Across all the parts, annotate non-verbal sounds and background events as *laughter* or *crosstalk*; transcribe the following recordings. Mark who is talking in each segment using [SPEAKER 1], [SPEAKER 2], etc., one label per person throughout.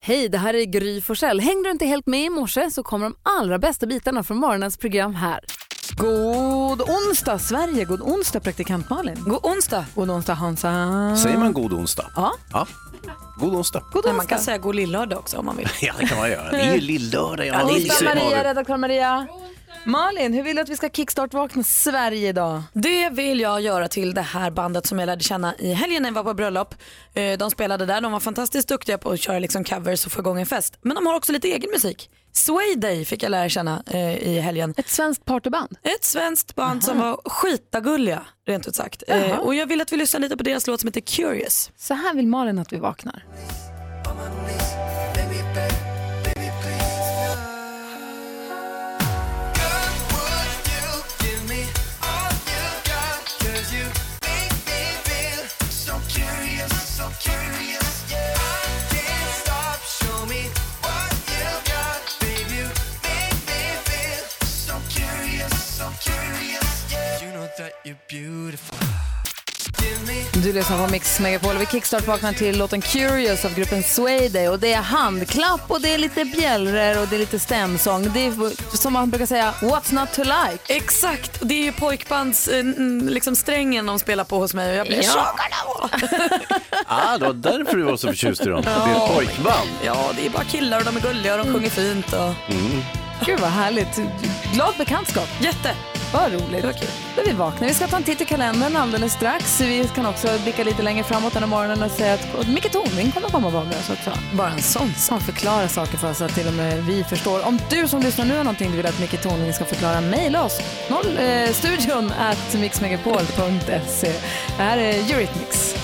[SPEAKER 1] Hej, det här är Gry Forssell. Hängde du inte helt med i morse så kommer de allra bästa bitarna från morgonens program här.
[SPEAKER 2] God onsdag Sverige, god onsdag praktikant Malin.
[SPEAKER 1] God onsdag.
[SPEAKER 2] God onsdag Hansa.
[SPEAKER 3] Säger man god onsdag?
[SPEAKER 2] Ja.
[SPEAKER 3] ja. God onsdag.
[SPEAKER 2] God onsdag.
[SPEAKER 4] Men man kan säga god lillördag också om man
[SPEAKER 2] *laughs*
[SPEAKER 4] vill.
[SPEAKER 3] Ja, det kan man göra. Det är ju lillördag. Ja,
[SPEAKER 2] God
[SPEAKER 3] det är
[SPEAKER 2] onsdag
[SPEAKER 3] ju-
[SPEAKER 2] Maria, redaktör Maria. Malin, hur vill du att vi ska kickstart-vakna Sverige idag?
[SPEAKER 4] Det vill jag göra till det här bandet som jag lärde känna i helgen när jag var på bröllop. Eh, De spelade där, de var fantastiskt duktiga på att köra liksom covers och få igång en fest. Men de har också lite egen musik. Sway Day fick jag lära känna eh, i helgen.
[SPEAKER 2] Ett svenskt partyband.
[SPEAKER 4] Ett svenskt band som var skitagulliga rent ut sagt. Eh, Och jag vill att vi lyssnar lite på deras låt som heter Curious.
[SPEAKER 2] Så här vill Malin att vi vaknar. Du lyssnar på Mix Megapol och vi kickstart-vaknar till låten Curious av gruppen Swayday. Och det är handklapp och det är lite bjällror och det är lite stämsång. Det är som man brukar säga, what's not to like?
[SPEAKER 4] Exakt, det är ju pojkbands eh, mm, liksom strängen de spelar på hos mig och jag blir chockad av.
[SPEAKER 3] *laughs* Ah, det var därför du var så förtjust i dem. Det är ett pojkband. Mm.
[SPEAKER 4] Ja, det är bara killar och de är gulliga och de sjunger fint och
[SPEAKER 2] Gud vad härligt. Glad bekantskap.
[SPEAKER 4] jätte.
[SPEAKER 2] Vad roligt.
[SPEAKER 4] Det var kul.
[SPEAKER 2] Då är vi vaknar. Vi ska ta en titt i kalendern alldeles strax. Vi kan också blicka lite längre framåt den här morgonen och säga att och Micke Tornving kommer komma och vara med oss också.
[SPEAKER 4] Bara en sån sak.
[SPEAKER 2] Han förklarar saker för oss så att till och med vi förstår. Om du som lyssnar nu har någonting du vill att Micke Tornving ska förklara, mejla oss. Noll, eh, studion at mixmegapol.se. Här är Eurythmics.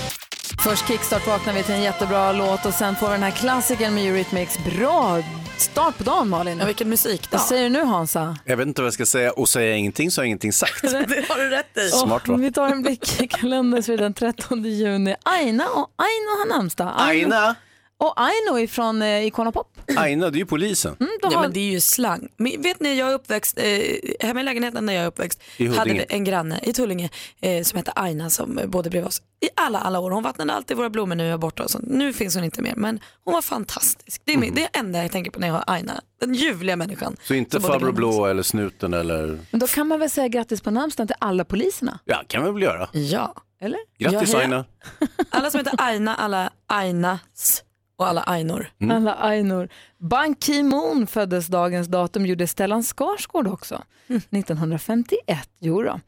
[SPEAKER 2] Först kickstart vaknar vi till en jättebra låt och sen får vi den här klassikern med Eurythmics. Bra start på dagen Malin.
[SPEAKER 4] Ja, vilken musik.
[SPEAKER 2] Vad säger du nu Hansa?
[SPEAKER 3] Jag vet inte vad jag ska säga. Och säger jag ingenting så har jag
[SPEAKER 4] *laughs*
[SPEAKER 3] ingenting sagt.
[SPEAKER 4] Det har du rätt i.
[SPEAKER 3] Smart va?
[SPEAKER 2] Vi tar en blick i kalendern så är det den 13 juni. Aina och Aino har namnsdag.
[SPEAKER 3] Aina,
[SPEAKER 2] Och Aino ifrån eh, Icona Pop.
[SPEAKER 3] Aina, det är ju polisen.
[SPEAKER 2] De
[SPEAKER 4] Ja,
[SPEAKER 2] har,
[SPEAKER 4] men det är ju slang. Men vet ni, jag är uppväxt, eh, hemma i lägenheten när jag är uppväxt
[SPEAKER 3] I Huddinge.
[SPEAKER 4] hade vi en granne i Tullinge eh, som hette Aina som eh, bodde bredvid oss i alla, alla år. Hon vattnade alltid våra blommor nu är jag borta och sånt. Nu finns hon inte mer men hon var fantastisk. Det är mm. det enda jag tänker på när jag har Aina. Den ljuvliga människan.
[SPEAKER 3] Så inte
[SPEAKER 4] som bodde
[SPEAKER 3] farbror
[SPEAKER 4] bredvid oss.
[SPEAKER 3] blå eller snuten eller...
[SPEAKER 2] men då kan man väl säga grattis på namnsdagen till alla poliserna?
[SPEAKER 3] Ja, kan vi väl göra.
[SPEAKER 4] Ja,
[SPEAKER 2] Eller?
[SPEAKER 3] Grattis
[SPEAKER 4] Ja, ja.
[SPEAKER 3] Aina.
[SPEAKER 4] *laughs* alla som heter Aina, alla Ainas och alla Ainor.
[SPEAKER 3] Mm.
[SPEAKER 2] Alla Ainor. Ban Ki-Moon föddes dagens datum, gjorde Stellan Skarsgård också. 1951, jo då.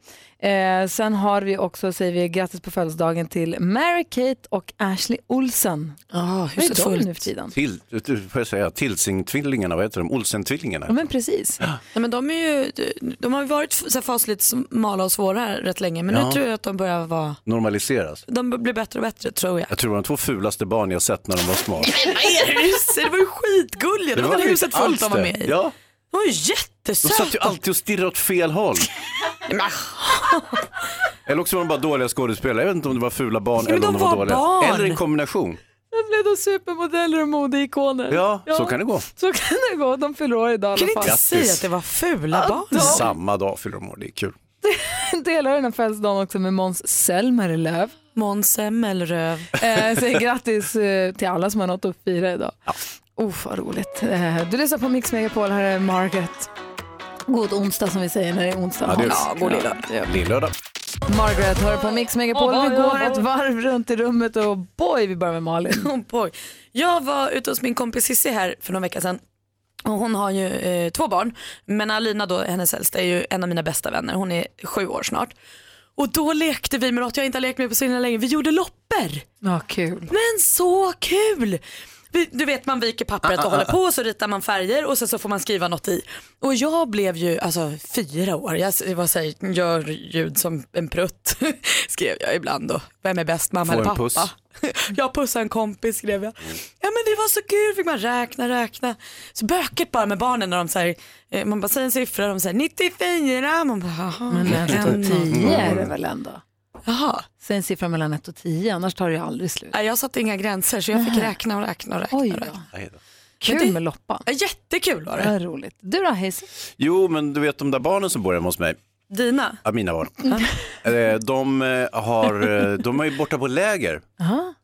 [SPEAKER 2] Eh, sen har vi också, säger vi grattis på födelsedagen till Mary-Kate och Ashley Olsen.
[SPEAKER 4] Oh,
[SPEAKER 2] Vad är de nu för tiden?
[SPEAKER 3] Till, du får jag säga, Tilsing-tvillingarna, vad heter de? Olsen-tvillingarna.
[SPEAKER 2] Ja, men precis.
[SPEAKER 4] Nej, men de, är ju, de har ju varit så här fasligt smala och svåra här rätt länge men nu
[SPEAKER 3] Ja.
[SPEAKER 4] tror jag att de börjar vara,
[SPEAKER 3] Normaliseras.
[SPEAKER 4] de blir bättre och bättre tror jag.
[SPEAKER 3] Jag tror det var de två fulaste barn jag sett när de var små.
[SPEAKER 4] *laughs* det var ju skitgulliga, det var
[SPEAKER 3] ju
[SPEAKER 4] huset
[SPEAKER 3] inte
[SPEAKER 4] fullt
[SPEAKER 3] alls
[SPEAKER 4] de var
[SPEAKER 3] det.
[SPEAKER 4] med i.
[SPEAKER 3] Ja,
[SPEAKER 4] De var ju
[SPEAKER 3] de satt ju
[SPEAKER 4] jättesöta.
[SPEAKER 3] alltid och stirrade åt fel håll.
[SPEAKER 4] Men, ah,
[SPEAKER 3] Eller också var de bara dåliga skådespelare. Jag vet inte om det var fula barn
[SPEAKER 4] men
[SPEAKER 3] eller om
[SPEAKER 4] de
[SPEAKER 3] de var,
[SPEAKER 4] var
[SPEAKER 3] dåliga.
[SPEAKER 4] barn.
[SPEAKER 3] Eller en kombination.
[SPEAKER 2] Sen blev de supermodeller och modeikoner.
[SPEAKER 3] Ja, så kan det gå.
[SPEAKER 2] Så kan det gå. De fyller år idag i
[SPEAKER 4] Kan
[SPEAKER 2] alla
[SPEAKER 4] ni
[SPEAKER 2] fall.
[SPEAKER 4] inte
[SPEAKER 3] Grattis.
[SPEAKER 4] säga att det var fula barn?
[SPEAKER 3] Samma dag fyller de år, det är kul.
[SPEAKER 2] *laughs* Delar den här födelsedagen också med Måns Zelmerlöw.
[SPEAKER 4] Måns Zelmerlöw.
[SPEAKER 2] Eh, säger grattis eh, till alla som har något att fira idag. Uff, vad roligt. Eh, du lyssnar på Mix Megapol, här är Margaret. God onsdag som vi säger när det är onsdag.
[SPEAKER 3] Ja, det är-
[SPEAKER 2] Hans.
[SPEAKER 4] Ja, god lilla.
[SPEAKER 2] Ja.
[SPEAKER 3] Lillördag.
[SPEAKER 2] Margaret hör på Mix Megapol.
[SPEAKER 1] Oh,
[SPEAKER 2] vi
[SPEAKER 1] oh,
[SPEAKER 2] går
[SPEAKER 1] oh,
[SPEAKER 2] ett varv runt i rummet och boy, vi börjar
[SPEAKER 4] *laughs*
[SPEAKER 2] med Malin.
[SPEAKER 4] Oh boy. Jag var ute hos min kompis Cissi här för någon vecka sedan. Och hon har ju eh, två barn, men Alina då, hennes äldsta, är ju en av mina bästa vänner. Hon är sju år snart. Och då lekte vi med något jag inte har lekt med på så himla länge. Vi gjorde loppor.
[SPEAKER 2] Ja, kul.
[SPEAKER 4] Men så kul! Vi- Du vet man viker pappret
[SPEAKER 3] Ah,
[SPEAKER 4] och håller på och så ritar man färger och sen så får man skriva något i. Och jag blev ju alltså fyra år, jag s- var så här, gör ljud som en prutt *laughs* skrev jag ibland då. Vem är bäst mamma
[SPEAKER 3] Få
[SPEAKER 4] eller
[SPEAKER 3] en
[SPEAKER 4] pappa?
[SPEAKER 3] puss.
[SPEAKER 4] *laughs*
[SPEAKER 3] Mm.
[SPEAKER 4] Jag pussar en kompis skrev jag. Ja men det var så kul, fick man räkna, räkna. Så bökigt bara med barnen när de så här, eh, man bara säger en siffra, de säger 94, man bara jaha.
[SPEAKER 2] Men eh, ett och
[SPEAKER 4] en och-
[SPEAKER 2] tio är
[SPEAKER 3] Mm.
[SPEAKER 2] det väl ändå?
[SPEAKER 4] Jaha.
[SPEAKER 2] Säg en siffra mellan ett och tio, annars tar det ju aldrig slut.
[SPEAKER 4] Nej, Jag satte inga gränser så jag fick räkna och räkna och räkna.
[SPEAKER 2] Oj
[SPEAKER 4] och
[SPEAKER 2] då.
[SPEAKER 4] räkna.
[SPEAKER 3] Nej då.
[SPEAKER 2] Kul
[SPEAKER 4] det-
[SPEAKER 2] med loppan.
[SPEAKER 4] Ja, Jättekul var det.
[SPEAKER 2] Vad roligt. Du då Hayes?
[SPEAKER 3] Jo, men du vet de där barnen som bor hemma hos mig,
[SPEAKER 4] Dina?
[SPEAKER 3] ja, mina barn,
[SPEAKER 4] Mm.
[SPEAKER 3] Eh, de, eh, har, eh, de är ju borta på läger.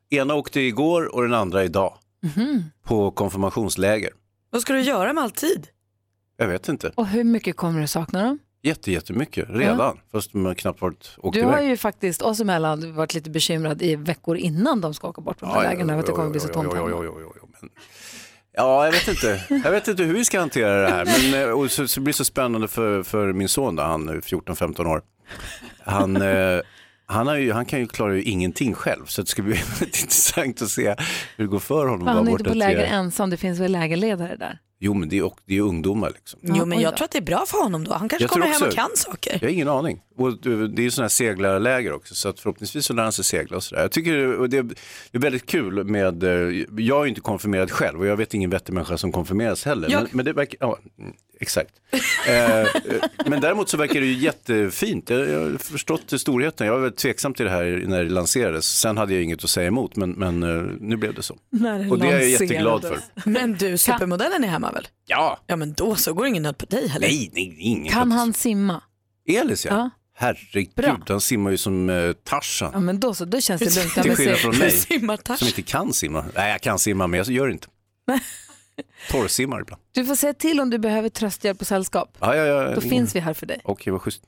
[SPEAKER 3] Ena åkte igår och den andra idag.
[SPEAKER 4] Mhm.
[SPEAKER 3] på konfirmationsläger.
[SPEAKER 4] Vad ska du göra med all tid?
[SPEAKER 3] Jag vet inte.
[SPEAKER 2] Och hur mycket kommer du sakna dem?
[SPEAKER 3] Jätte, jättemycket redan. Fast man knappt varit åkt
[SPEAKER 2] Du
[SPEAKER 3] iväg.
[SPEAKER 2] har ju faktiskt oss emellan varit lite bekymrad i veckor innan de ska åka bort på de här lägren över att det kommer bli så tomt.
[SPEAKER 3] Ja, ja, ja, ja, men... ja, jag vet inte. Jag vet inte hur vi ska hantera det här. Men, eh, och så, så blir det så spännande för, för min son då, han är 14-15 år. Han, eh, han, har ju, han kan ju klara ju ingenting själv så det ska bli *laughs* väldigt intressant att se hur det går för honom.
[SPEAKER 2] Han
[SPEAKER 3] där
[SPEAKER 2] är inte på
[SPEAKER 3] borta
[SPEAKER 2] läger
[SPEAKER 3] till-
[SPEAKER 2] ensam, det finns väl lägerledare där?
[SPEAKER 3] Jo, men det är, och, det är ju ungdomar liksom.
[SPEAKER 4] Jo men
[SPEAKER 2] oj
[SPEAKER 4] jag
[SPEAKER 2] då.
[SPEAKER 4] tror att det är bra för honom då. Han kanske
[SPEAKER 3] Jag tror
[SPEAKER 4] kommer hem och
[SPEAKER 3] också-
[SPEAKER 4] kan saker.
[SPEAKER 3] Jag har ingen aning. Och du, det är ju sådana här seglarläger också så att förhoppningsvis så lär han sig segla och sådär. Jag tycker det, och det det är väldigt kul med, eh, jag är ju inte konfirmerad själv och jag vet ingen vettig människa som konfirmeras heller.
[SPEAKER 4] Jag-
[SPEAKER 3] Men, men det verkar, ja mm, exakt. eh, eh, men däremot så verkar det ju jättefint. Jag, jag har förstått storheten. Jag var väldigt tveksam till det här när det lanserades. Sen hade jag inget att säga emot men, men eh, nu blev det så.
[SPEAKER 2] När det
[SPEAKER 3] Och det är jag
[SPEAKER 2] lanserades.
[SPEAKER 3] jätteglad för.
[SPEAKER 4] Men du, supermodellen är hemma väl?
[SPEAKER 3] Ja,
[SPEAKER 4] Ja men då så går det ingen nöd på dig heller.
[SPEAKER 3] nej, nej, ingen
[SPEAKER 2] Kan
[SPEAKER 3] katastrof.
[SPEAKER 2] han simma?
[SPEAKER 3] Elis ja.
[SPEAKER 2] Ja.
[SPEAKER 3] Herregud,
[SPEAKER 2] Bra.
[SPEAKER 3] han simmar ju som eh, Tarzan.
[SPEAKER 2] Ja men då så, då känns det Alltså, lugnt. Ja,
[SPEAKER 3] Till
[SPEAKER 2] men
[SPEAKER 3] skillnad
[SPEAKER 2] se-
[SPEAKER 3] från
[SPEAKER 4] *laughs*
[SPEAKER 3] mig.
[SPEAKER 4] Simmar Tarzan.
[SPEAKER 3] Som inte kan simma. Nej, jag kan simma men jag gör
[SPEAKER 2] *laughs*
[SPEAKER 3] inte. Torrsimmar ibland.
[SPEAKER 2] Du får säga till om du behöver trösthjälp och sällskap.
[SPEAKER 3] Ja, ja, ja.
[SPEAKER 2] Då finns vi här för dig.
[SPEAKER 3] Okej, vad schysst.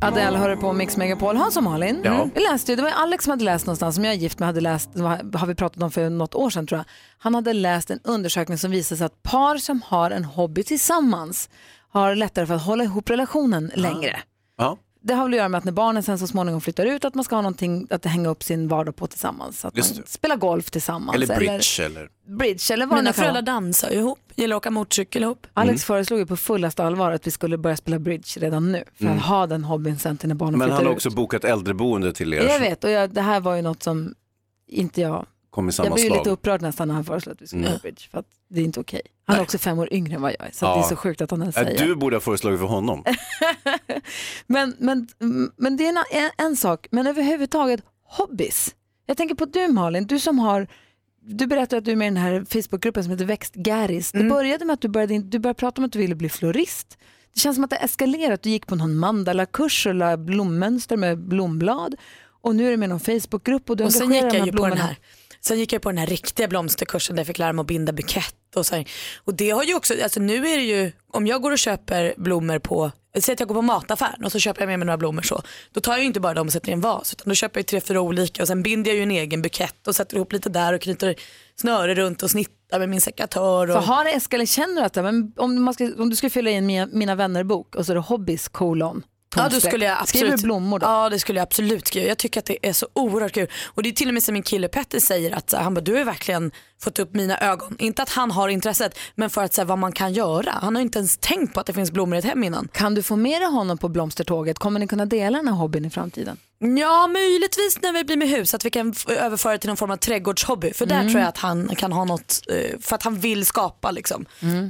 [SPEAKER 2] Adele hör på Mix Megapol. Hans och Malin,
[SPEAKER 3] Ja.
[SPEAKER 2] vi läste ju, det var Alex som hade läst någonstans, som jag är gift med, hade läst, det var- har vi pratat om för något år sedan tror jag. Han hade läst en undersökning som visade sig att par som har en hobby tillsammans har lättare för att hålla ihop relationen längre.
[SPEAKER 3] Ja,
[SPEAKER 2] Det har väl att göra med att när barnen sen så småningom flyttar ut att man ska ha någonting att hänga upp sin vardag på tillsammans. Att
[SPEAKER 3] Just
[SPEAKER 2] man spelar golf tillsammans.
[SPEAKER 3] eller bridge eller...
[SPEAKER 2] bridge eller vad det
[SPEAKER 4] Mina
[SPEAKER 2] nu kan
[SPEAKER 4] föräldrar
[SPEAKER 2] vara.
[SPEAKER 4] dansar ju ihop, gillar att åka motorcykel ihop.
[SPEAKER 2] Alex
[SPEAKER 3] Mm.
[SPEAKER 2] föreslog ju på fullaste allvar att vi skulle börja spela bridge redan nu för att ha den hobbyn sen till när barnen
[SPEAKER 3] Mm. Men
[SPEAKER 2] flyttar
[SPEAKER 3] han har
[SPEAKER 2] ut.
[SPEAKER 3] också bokat äldreboende till er
[SPEAKER 2] Jag
[SPEAKER 3] som
[SPEAKER 2] vet och jag, det här var ju något som inte jag,
[SPEAKER 3] kom i
[SPEAKER 2] jag
[SPEAKER 3] samma
[SPEAKER 2] blev ju
[SPEAKER 3] slag.
[SPEAKER 2] lite upprörd nästan när han föreslog att vi skulle
[SPEAKER 3] Mm.
[SPEAKER 2] göra bridge för att det är inte okej. Han är också fem år yngre än vad jag är så
[SPEAKER 3] Ja.
[SPEAKER 2] det är så sjukt att han ens
[SPEAKER 3] Ja,
[SPEAKER 2] säger.
[SPEAKER 3] du borde ha föreslagit för honom.
[SPEAKER 2] Men, men, men det är en, en sak, men överhuvudtaget hobbys. Jag tänker på du Malin, du som har du berättade att du är med i den här Facebookgruppen som heter Växtgäris.
[SPEAKER 4] Mm.
[SPEAKER 2] Det började med att du började, in- du började prata om att du ville bli florist. Det känns som att det eskalerat. Du gick på någon mandalakurs och la blommönster med blomblad. Och nu är du med i någon Facebookgrupp och du
[SPEAKER 4] Och sen gick jag
[SPEAKER 2] engagerar de här
[SPEAKER 4] ju på den
[SPEAKER 2] blommorna.
[SPEAKER 4] här, sen gick jag på den här riktiga blomsterkursen där jag fick lära mig att binda bukett och så här. Och det har ju också, alltså nu är det ju, om jag går och köper blommor på, säg att jag går på mataffären och så köper jag med mig några blommor så, då tar jag ju inte bara dem och sätter i en vas utan då köper jag ju tre, fyra olika och sen binder jag ju en egen bukett och sätter ihop lite där och knyter snöre runt och snittar med min sekatör.
[SPEAKER 2] För
[SPEAKER 4] Och,
[SPEAKER 2] har det eskalerat, känner du att det, men om, man ska, om du ska fylla i en mina, mina vänner-bok och så är det hobbys kolon.
[SPEAKER 4] Ja, då
[SPEAKER 2] punktstreck.
[SPEAKER 4] skulle jag absolut,
[SPEAKER 2] Skriver du blommor då?
[SPEAKER 4] Ja, det skulle jag absolut skriva. Jag tycker att det är så oerhört kul. Och det är till och med som min kille Petter säger att så här, han bara, du har verkligen fått upp mina ögon. Inte att han har intresset, men för att säga vad man kan göra. Han har inte ens tänkt på att det finns blommor i ett hem innan.
[SPEAKER 2] Kan du få med dig honom på blomstertåget? Kommer ni kunna dela den här hobbyn i framtiden?
[SPEAKER 4] Ja, möjligtvis när vi blir med hus att vi kan f- överföra det till någon form av trädgårdshobby. För
[SPEAKER 2] Mm.
[SPEAKER 4] där tror jag att han kan ha något, eh, för att han vill skapa liksom.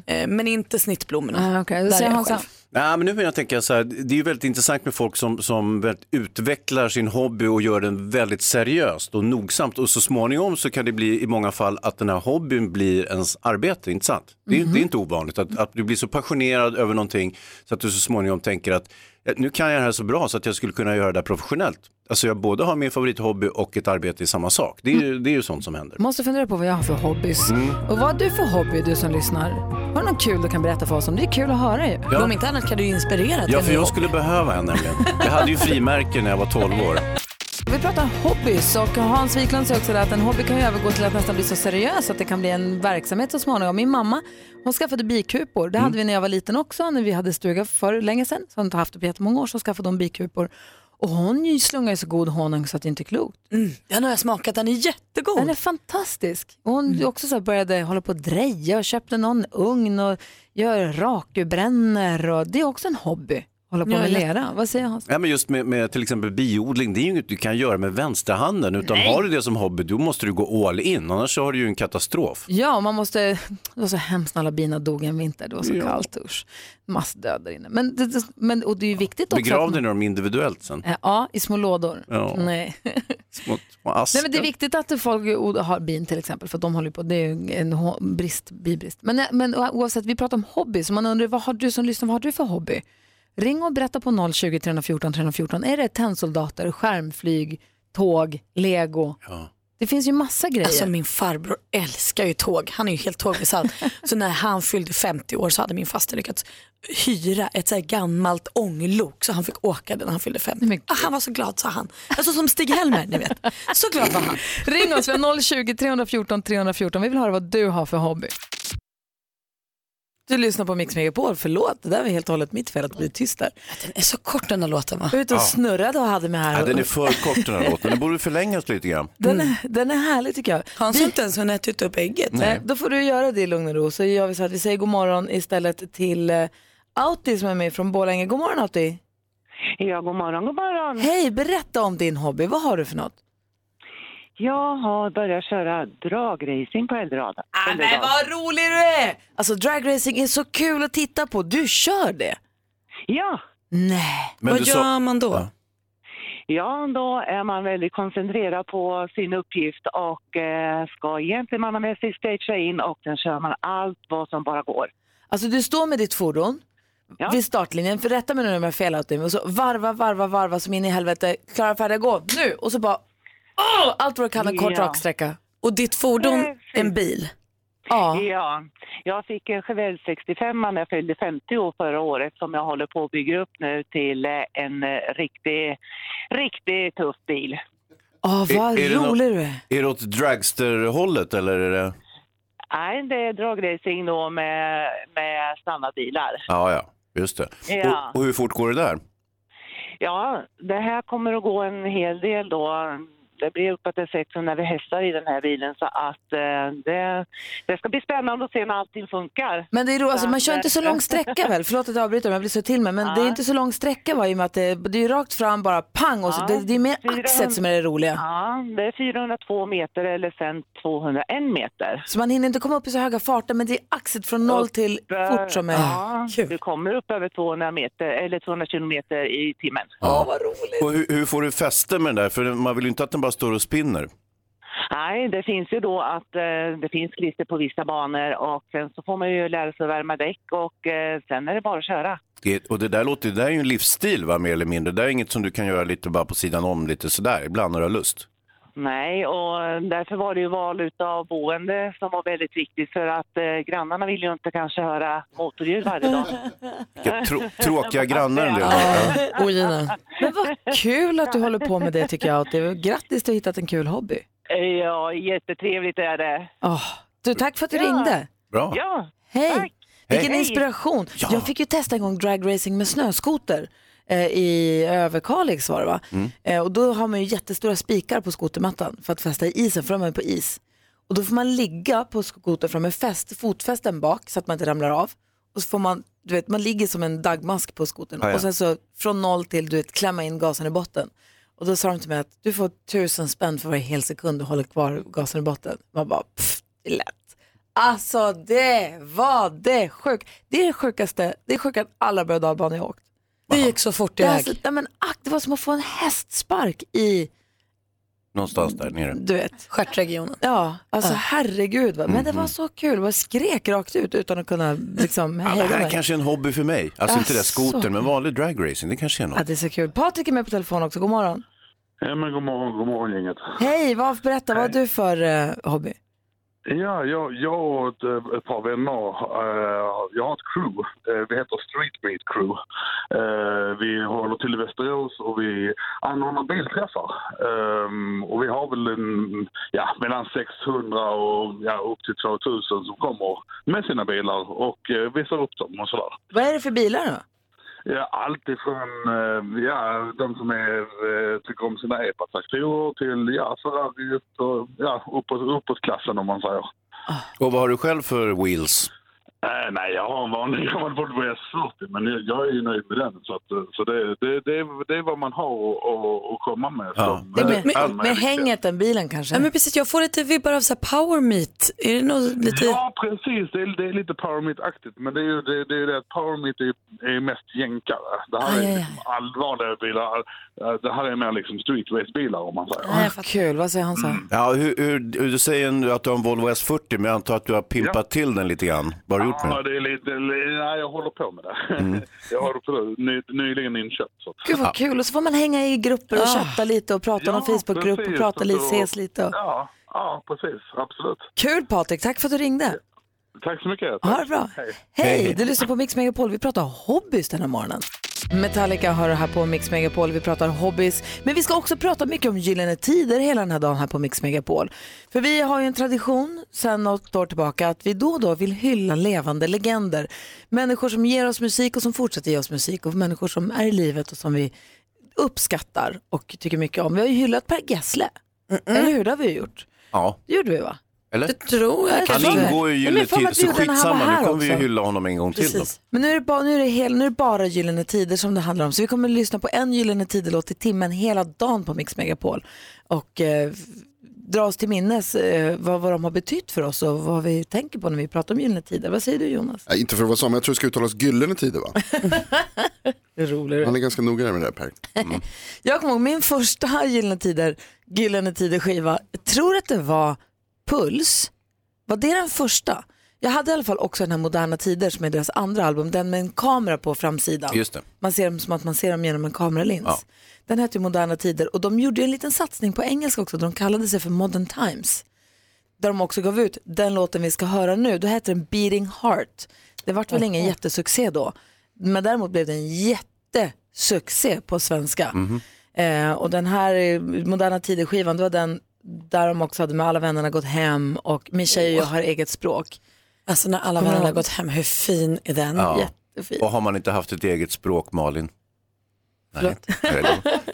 [SPEAKER 4] Eh, Men inte snittblommorna.
[SPEAKER 2] Mm. Ah, okay.
[SPEAKER 4] Där
[SPEAKER 2] Säger
[SPEAKER 4] är jag
[SPEAKER 2] han så här,
[SPEAKER 4] själv.
[SPEAKER 3] Nej, men nu menar jag tänka så här, det är ju väldigt intressant med folk som, som väldigt utvecklar sin hobby och gör den väldigt seriöst och nogsamt och så småningom så kan det bli i många fall att den här hobbyn blir ens arbete, inte sant? Det är,
[SPEAKER 4] Mhm.
[SPEAKER 3] det är inte ovanligt att, att du blir så passionerad över någonting så att du så småningom tänker att "Eh, nu kan jag det här så bra så att jag skulle kunna göra det här professionellt. Alltså jag både har min favorithobby och ett arbete i samma sak. Det är, ju- det är ju sånt som händer.
[SPEAKER 2] måste fundera på vad jag har för hobbys.
[SPEAKER 4] Mm.
[SPEAKER 2] Och vad har du för hobby, du som lyssnar? Har du något kul du kan berätta för oss om? Det är kul att höra ju.
[SPEAKER 4] Om inte annat kan du ju inspirera till
[SPEAKER 3] Ja,
[SPEAKER 4] en
[SPEAKER 3] för
[SPEAKER 4] ny
[SPEAKER 3] jag skulle behöva en nämligen. Jag hade ju frimärken när jag var 12 år.
[SPEAKER 2] Vi pratar hobbys och Hans Wiklund säger också att en hobby kan ju övergå till att nästan bli så seriös att det kan bli en verksamhet så småningom. Min mamma hon skaffade bikupor.
[SPEAKER 4] Mm.
[SPEAKER 2] Det hade vi när jag var liten också, när vi hade stuga för länge sedan. Så har hon inte haft det på jättemånga år, så skaffade hon bikupor. Och hon ju slungar ju så god honung så att det inte är klokt.
[SPEAKER 4] Den Mm. har jag smakat, den är jättegod. Mm.
[SPEAKER 2] Den är fantastisk. Och hon också så här började hålla på och dreja och köpte någon ugn och gör rakubrännor. Och det är också en hobby, hålla på
[SPEAKER 4] Ja,
[SPEAKER 2] med
[SPEAKER 4] ja.
[SPEAKER 2] lera. Vad säger Hans?
[SPEAKER 3] Ja, men just med, med till exempel biodling, det är ju inget du kan göra med vänsterhanden utan har du det som hobby då måste du gå all in, annars så har du ju en katastrof.
[SPEAKER 2] Ja, man måste... Det var så hemskt när alla bina dog en vinter. Det var så
[SPEAKER 3] Ja.
[SPEAKER 2] kallt. Usch. Massdöd där inne. Men, det, det- men, och det är ju viktigt också...
[SPEAKER 3] Begrav
[SPEAKER 2] att
[SPEAKER 3] dig
[SPEAKER 2] man-
[SPEAKER 3] dem individuellt sen.
[SPEAKER 2] Eh, Ja, i små lådor.
[SPEAKER 3] Ja.
[SPEAKER 2] Nej.
[SPEAKER 3] Små, små askar.
[SPEAKER 2] Nej, men det är viktigt att folk har bin till exempel, för att de håller på. Det är ju en ho- brist, bibrist. Men, eh, men o- oavsett, vi pratar om hobby, så man undrar vad har du som lyssnar, vad har du för hobby? Ring och berätta på 020 314 314. Är det tennsoldater, skärmflyg, tåg, lego?
[SPEAKER 3] Ja.
[SPEAKER 2] Det finns ju massa grejer.
[SPEAKER 4] Alltså min farbror älskar ju tåg, han är ju helt
[SPEAKER 2] *laughs*
[SPEAKER 4] tågbesatt. så när han fyllde 50 år så hade min faster lyckats hyra ett så här gammalt ånglok så han fick åka det när han fyllde 50.
[SPEAKER 2] Men gud.
[SPEAKER 4] ah, han var så glad sa han. Alltså som Stig-Helmer, ni vet.
[SPEAKER 2] *laughs*
[SPEAKER 4] Så glad var han.
[SPEAKER 2] Ring oss, vi har 020 314 314. Vi vill höra vad du har för hobby. Du lyssnar på Mix Megapol, förlåt, det där var helt och hållet mitt fel att bli tyst där.
[SPEAKER 4] Den är så kort den här låten va?
[SPEAKER 2] Jag var ute och snurrade och hade mig här.
[SPEAKER 3] Ja,
[SPEAKER 2] och-
[SPEAKER 3] den är för kort den
[SPEAKER 2] *laughs*
[SPEAKER 3] här låten, den borde förlängas lite grann.
[SPEAKER 2] den, är, den är härlig tycker jag.
[SPEAKER 4] Hans har inte ens hunnit äta upp ägget.
[SPEAKER 2] Nej. Eh, Då får du göra det i lugn och ro. Så gör vi så att vi säger god morgon istället till eh, Auti som är med från Borlänge. God morgon Auti!
[SPEAKER 5] Ja, god morgon, god morgon.
[SPEAKER 2] Hej, berätta om din hobby. Vad har du för något?
[SPEAKER 5] Jag har börjat köra dragracing på Eldorado. Eldorado.
[SPEAKER 2] Ah, vad rolig du är! Alltså dragracing är så kul att titta på. Du kör det?
[SPEAKER 5] Ja,
[SPEAKER 2] Nej.
[SPEAKER 3] Men
[SPEAKER 4] Vad
[SPEAKER 3] du
[SPEAKER 4] gör
[SPEAKER 3] sa-
[SPEAKER 4] man då?
[SPEAKER 3] Ja.
[SPEAKER 5] ja, då är man väldigt koncentrerad på sin uppgift och eh, ska egentligen man har med sig stagea in och sen kör man allt vad som bara går.
[SPEAKER 2] Alltså du står med ditt fordon
[SPEAKER 5] Ja.
[SPEAKER 2] vid startlinjen, för rätta mig nu om jag har fel Auti, och så varva, varva, varva som in i helvete. Klara, färdiga, gå nu! Och så bara Åh! allt vad du kan, en kort
[SPEAKER 5] Ja.
[SPEAKER 2] raksträcka.
[SPEAKER 4] Och ditt fordon,
[SPEAKER 5] Precis.
[SPEAKER 4] en bil.
[SPEAKER 2] Ja.
[SPEAKER 5] Ja, jag fick en Chevelle 65 när jag fyllde 50 år förra året som jag håller på att bygga upp nu till eh, en eh, riktig, riktig tuff bil.
[SPEAKER 2] Åh, *laughs* vad
[SPEAKER 3] Är- är det nå-
[SPEAKER 2] rolig du är.
[SPEAKER 3] Är det åt dragsterhållet eller? Är det...
[SPEAKER 5] Nej, det är dragracing då med, med snabba bilar.
[SPEAKER 3] Ja, ja, just det.
[SPEAKER 5] Ja.
[SPEAKER 3] Och, och hur fort går det där?
[SPEAKER 5] Ja, det här kommer att gå en hel del då. Det blir uppåt en 600 vi hästar i den här bilen så att eh, det, det ska bli spännande att se när allting funkar.
[SPEAKER 2] Men det är ro, alltså,
[SPEAKER 5] Så
[SPEAKER 2] man
[SPEAKER 5] att,
[SPEAKER 2] kör inte så
[SPEAKER 5] eh,
[SPEAKER 2] lång sträcka väl? Förlåt att jag avbryter om jag blir så till mig. Men det är inte så lång sträcka va? I och med att det, det är ju rakt fram bara
[SPEAKER 5] *laughs*
[SPEAKER 2] pang och så,
[SPEAKER 5] Ja.
[SPEAKER 2] det, det är mer axet
[SPEAKER 5] 400.
[SPEAKER 2] som är det roliga.
[SPEAKER 5] Ja, det är 402 meter eller sen 201 meter.
[SPEAKER 2] Så man hinner inte komma upp i så höga farter men det är axet från noll till
[SPEAKER 5] Eh,
[SPEAKER 2] fort som är...
[SPEAKER 5] ja,
[SPEAKER 4] kul.
[SPEAKER 5] du kommer upp över 200 meter eller 200 kilometer i timmen.
[SPEAKER 3] Ja.
[SPEAKER 2] vad roligt.
[SPEAKER 3] Och hur, hur får du fäste med den där? För man vill ju inte att den bara står och spinner.
[SPEAKER 5] Nej, det finns ju då att eh, det finns klister på vissa banor och sen så får man ju lära sig att värma däck och eh, sen är det bara att köra.
[SPEAKER 3] Det, och det där låter, det där är ju en livsstil va, mer eller mindre. Det där är inget som du kan göra lite bara på sidan om lite sådär, ibland när du har lust.
[SPEAKER 5] Nej, och därför var det ju val utav boende som var väldigt viktigt för att eh, grannarna vill ju inte kanske höra motorljud varje
[SPEAKER 2] *laughs*
[SPEAKER 5] dag.
[SPEAKER 3] *laughs* Vilka trå- tråkiga grannar en del har. Ja.
[SPEAKER 4] Ja. Och Gina.
[SPEAKER 2] Men vad kul att du håller på med det tycker jag. Och det, grattis till att ha hittat en kul hobby.
[SPEAKER 5] Eh, Ja, jättetrevligt är det.
[SPEAKER 2] Åh, du, tack för att du
[SPEAKER 5] Ja.
[SPEAKER 2] ringde.
[SPEAKER 3] Bra.
[SPEAKER 5] Ja,
[SPEAKER 2] Hej!
[SPEAKER 5] Tack.
[SPEAKER 2] Vilken
[SPEAKER 5] Hej.
[SPEAKER 2] inspiration.
[SPEAKER 3] Ja.
[SPEAKER 2] Jag fick ju testa en gång dragracing med snöskoter eh, i Överkalix var det va?
[SPEAKER 3] Mm.
[SPEAKER 2] Eh, och då har man ju jättestora spikar på skotermattan för att fästa i isen, för de är på is. Och då får man ligga på skotern från med fäst, fotfästen bak så att man inte ramlar av. Och så får man, du vet, man ligger som en dagmask på skotern
[SPEAKER 3] Ja, ja.
[SPEAKER 2] och sen så från noll till, du vet, klämma in gasen i botten. Och då sa de till mig att du får tusen spänn för varje hel sekund du håller kvar gasen i botten. Man bara, pff, det är lätt. Alltså det var det sjukt. Det är det sjukaste, det är sjukare än alla berg och dalbanor jag har åkt.
[SPEAKER 4] Det gick så fort
[SPEAKER 2] Det, är
[SPEAKER 4] iväg.
[SPEAKER 2] alltså, nej, men, ack, det var som att få en hästspark i,
[SPEAKER 3] Någonstans där nere.
[SPEAKER 2] du vet.
[SPEAKER 4] Stjärtregionen.
[SPEAKER 2] Ja, alltså herregud. Va? Men det var så kul, jag skrek rakt ut utan att kunna liksom
[SPEAKER 3] Ja, det
[SPEAKER 2] hejda
[SPEAKER 3] här
[SPEAKER 2] mig.
[SPEAKER 3] kanske är en hobby för mig. Alltså, inte det där skotern, men vanlig dragracing, det kanske är något.
[SPEAKER 2] Ja, det är så kul. Patrik är med på telefon också, god morgon.
[SPEAKER 6] Ja, men god morgon, god morgon gänget.
[SPEAKER 2] Hej, vad, berätta, vad har du för eh, hobby?
[SPEAKER 6] Ja, jag, jag och ett, eh, ett par vänner, eh, jag har ett crew. Eh, vi heter Street Meet Crew. Eh, vi håller till i Västerås och vi anordnar bilträffar. Ehm, och vi har väl en, ja, mellan 600 och ja, upp till 2000 som kommer med sina bilar och eh, visar upp dem och sådär.
[SPEAKER 2] Vad är det för bilar då?
[SPEAKER 6] Ja, allt ifrån eh, ja, de som är, eh, tycker om sina epa-traktorer till ja, Ferrari och ja, uppåt, uppåtklassen om man säger.
[SPEAKER 3] Och vad har du själv för wheels?
[SPEAKER 6] Eh, nej, jag har en vanlig gammal Volvo S40 men jag, jag är ju nöjd med den. Så, att, eh, så det, det, det, är- det är vad man har att- att- att komma med.
[SPEAKER 3] Ja.
[SPEAKER 6] som,
[SPEAKER 2] Det är
[SPEAKER 6] eh,
[SPEAKER 2] med, med,
[SPEAKER 6] som är viktigt.
[SPEAKER 2] hänget än bilen kanske?
[SPEAKER 4] Ja, men precis, jag får lite vibbar av så här power meet. Är det något lite...
[SPEAKER 6] Ja, precis. Det är, det är lite PowerMeet-aktigt. Men det är ju det, det, är ju det att PowerMeet är, är mest jänkare. Det
[SPEAKER 4] Aj,
[SPEAKER 6] här
[SPEAKER 4] aj,
[SPEAKER 6] är
[SPEAKER 4] aj.
[SPEAKER 6] liksom allvarliga bilar. Eh, Det här är mer liksom street race-bilar om man säger.
[SPEAKER 4] Nej,
[SPEAKER 2] Ah,
[SPEAKER 4] jag fattar.
[SPEAKER 2] kul, vad säger han så?
[SPEAKER 3] Ja, hur, hur, du säger nu att du har en Volvo S40, men jag antar att du har pimpat till den Mm. lite grann. Vad har du gjort med
[SPEAKER 6] Ja, det är lite, nej, jag håller på med det. *laughs* jag har absolut ny, nyligen inköpt. Så.
[SPEAKER 2] Gud vad kul. Och så får man hänga i grupper och chatta lite och prata om
[SPEAKER 6] Ja,
[SPEAKER 2] Facebookgrupp och
[SPEAKER 6] precis.
[SPEAKER 2] prata lite,
[SPEAKER 6] Och-
[SPEAKER 2] ses lite. Och...
[SPEAKER 6] Ja, ja, precis. Absolut.
[SPEAKER 2] Kul Patrik, tack för att du ringde.
[SPEAKER 6] Tack så mycket.
[SPEAKER 2] Ha det bra. Hej. du lyssnar på Mix Megapol. Vi pratar hobbys den här morgonen. Metallica hör du här på Mix Megapol. Vi pratar hobbys. Men vi ska också prata mycket om Gyllene Tider hela den här dagen här på Mix Megapol. För vi har ju en tradition sedan något år tillbaka att vi då och då vill hylla levande legender. Människor som ger oss musik och som fortsätter ge oss musik och människor som är i livet och som vi uppskattar och tycker mycket om. Vi har ju hyllat Per Gessle. Eller hur? Det har vi ju gjort.
[SPEAKER 3] Ja,
[SPEAKER 2] Det gjorde vi va?
[SPEAKER 3] eller?
[SPEAKER 4] Tror jag
[SPEAKER 3] Han
[SPEAKER 2] kanske det.
[SPEAKER 3] ingår ju i
[SPEAKER 2] Ja, men
[SPEAKER 3] Gyllene
[SPEAKER 2] fan,
[SPEAKER 3] Tider,
[SPEAKER 2] vad vi
[SPEAKER 3] så
[SPEAKER 2] gjorde när han var
[SPEAKER 3] skitsamma.
[SPEAKER 2] här
[SPEAKER 3] Nu kommer vi ju
[SPEAKER 2] också.
[SPEAKER 3] hylla honom en gång till. Då.
[SPEAKER 4] Precis.
[SPEAKER 2] Men nu är, det bara, nu, är det hel, nu är det bara Gyllene Tider som det handlar om. Så vi kommer att lyssna på en Gyllene Tider-låt i timmen hela dagen på Mix Megapol. Och eh, f- dra oss till minnes eh, vad, vad de har betytt för oss och vad vi tänker på när vi pratar om Gyllene Tider. Vad säger du Jonas?
[SPEAKER 7] Nej, inte för att vara så, men jag tror det ska uttalas Gyllene Tider va? Han är ganska noga med det där Per.
[SPEAKER 2] *laughs* Jag kommer ihåg min första Gyllene Tider, Gyllene Tider-skiva. Jag tror att det var Puls. Var det den första? Jag hade i alla fall också den här Moderna Tider som är deras andra album. Den med en kamera på framsidan.
[SPEAKER 3] Just det.
[SPEAKER 2] Man ser dem som att man ser dem genom en kameralins.
[SPEAKER 3] Ja.
[SPEAKER 2] Den hette ju Moderna Tider och de gjorde ju en liten satsning på engelska också. De kallade sig för Modern Times. Där de också gav ut den låten vi ska höra nu. Då hette den Beating Heart. Det vart väl ingen jättesuccé då. Men däremot blev det en jättesuccé på svenska.
[SPEAKER 4] Mm.
[SPEAKER 3] Mhm.
[SPEAKER 2] Eh, och den här eh, Moderna Tider-skivan, det var den där de också hade med alla vännerna gått hem och min tjej och jag har eget språk.
[SPEAKER 4] Alltså när alla
[SPEAKER 2] Kommer
[SPEAKER 4] vänner har
[SPEAKER 2] ihåg?
[SPEAKER 4] gått hem, hur fin är den?
[SPEAKER 3] Ja.
[SPEAKER 2] Jättefint.
[SPEAKER 3] Och har man inte haft ett eget
[SPEAKER 4] *laughs*
[SPEAKER 3] språk, Malin? Nej, Nej, det-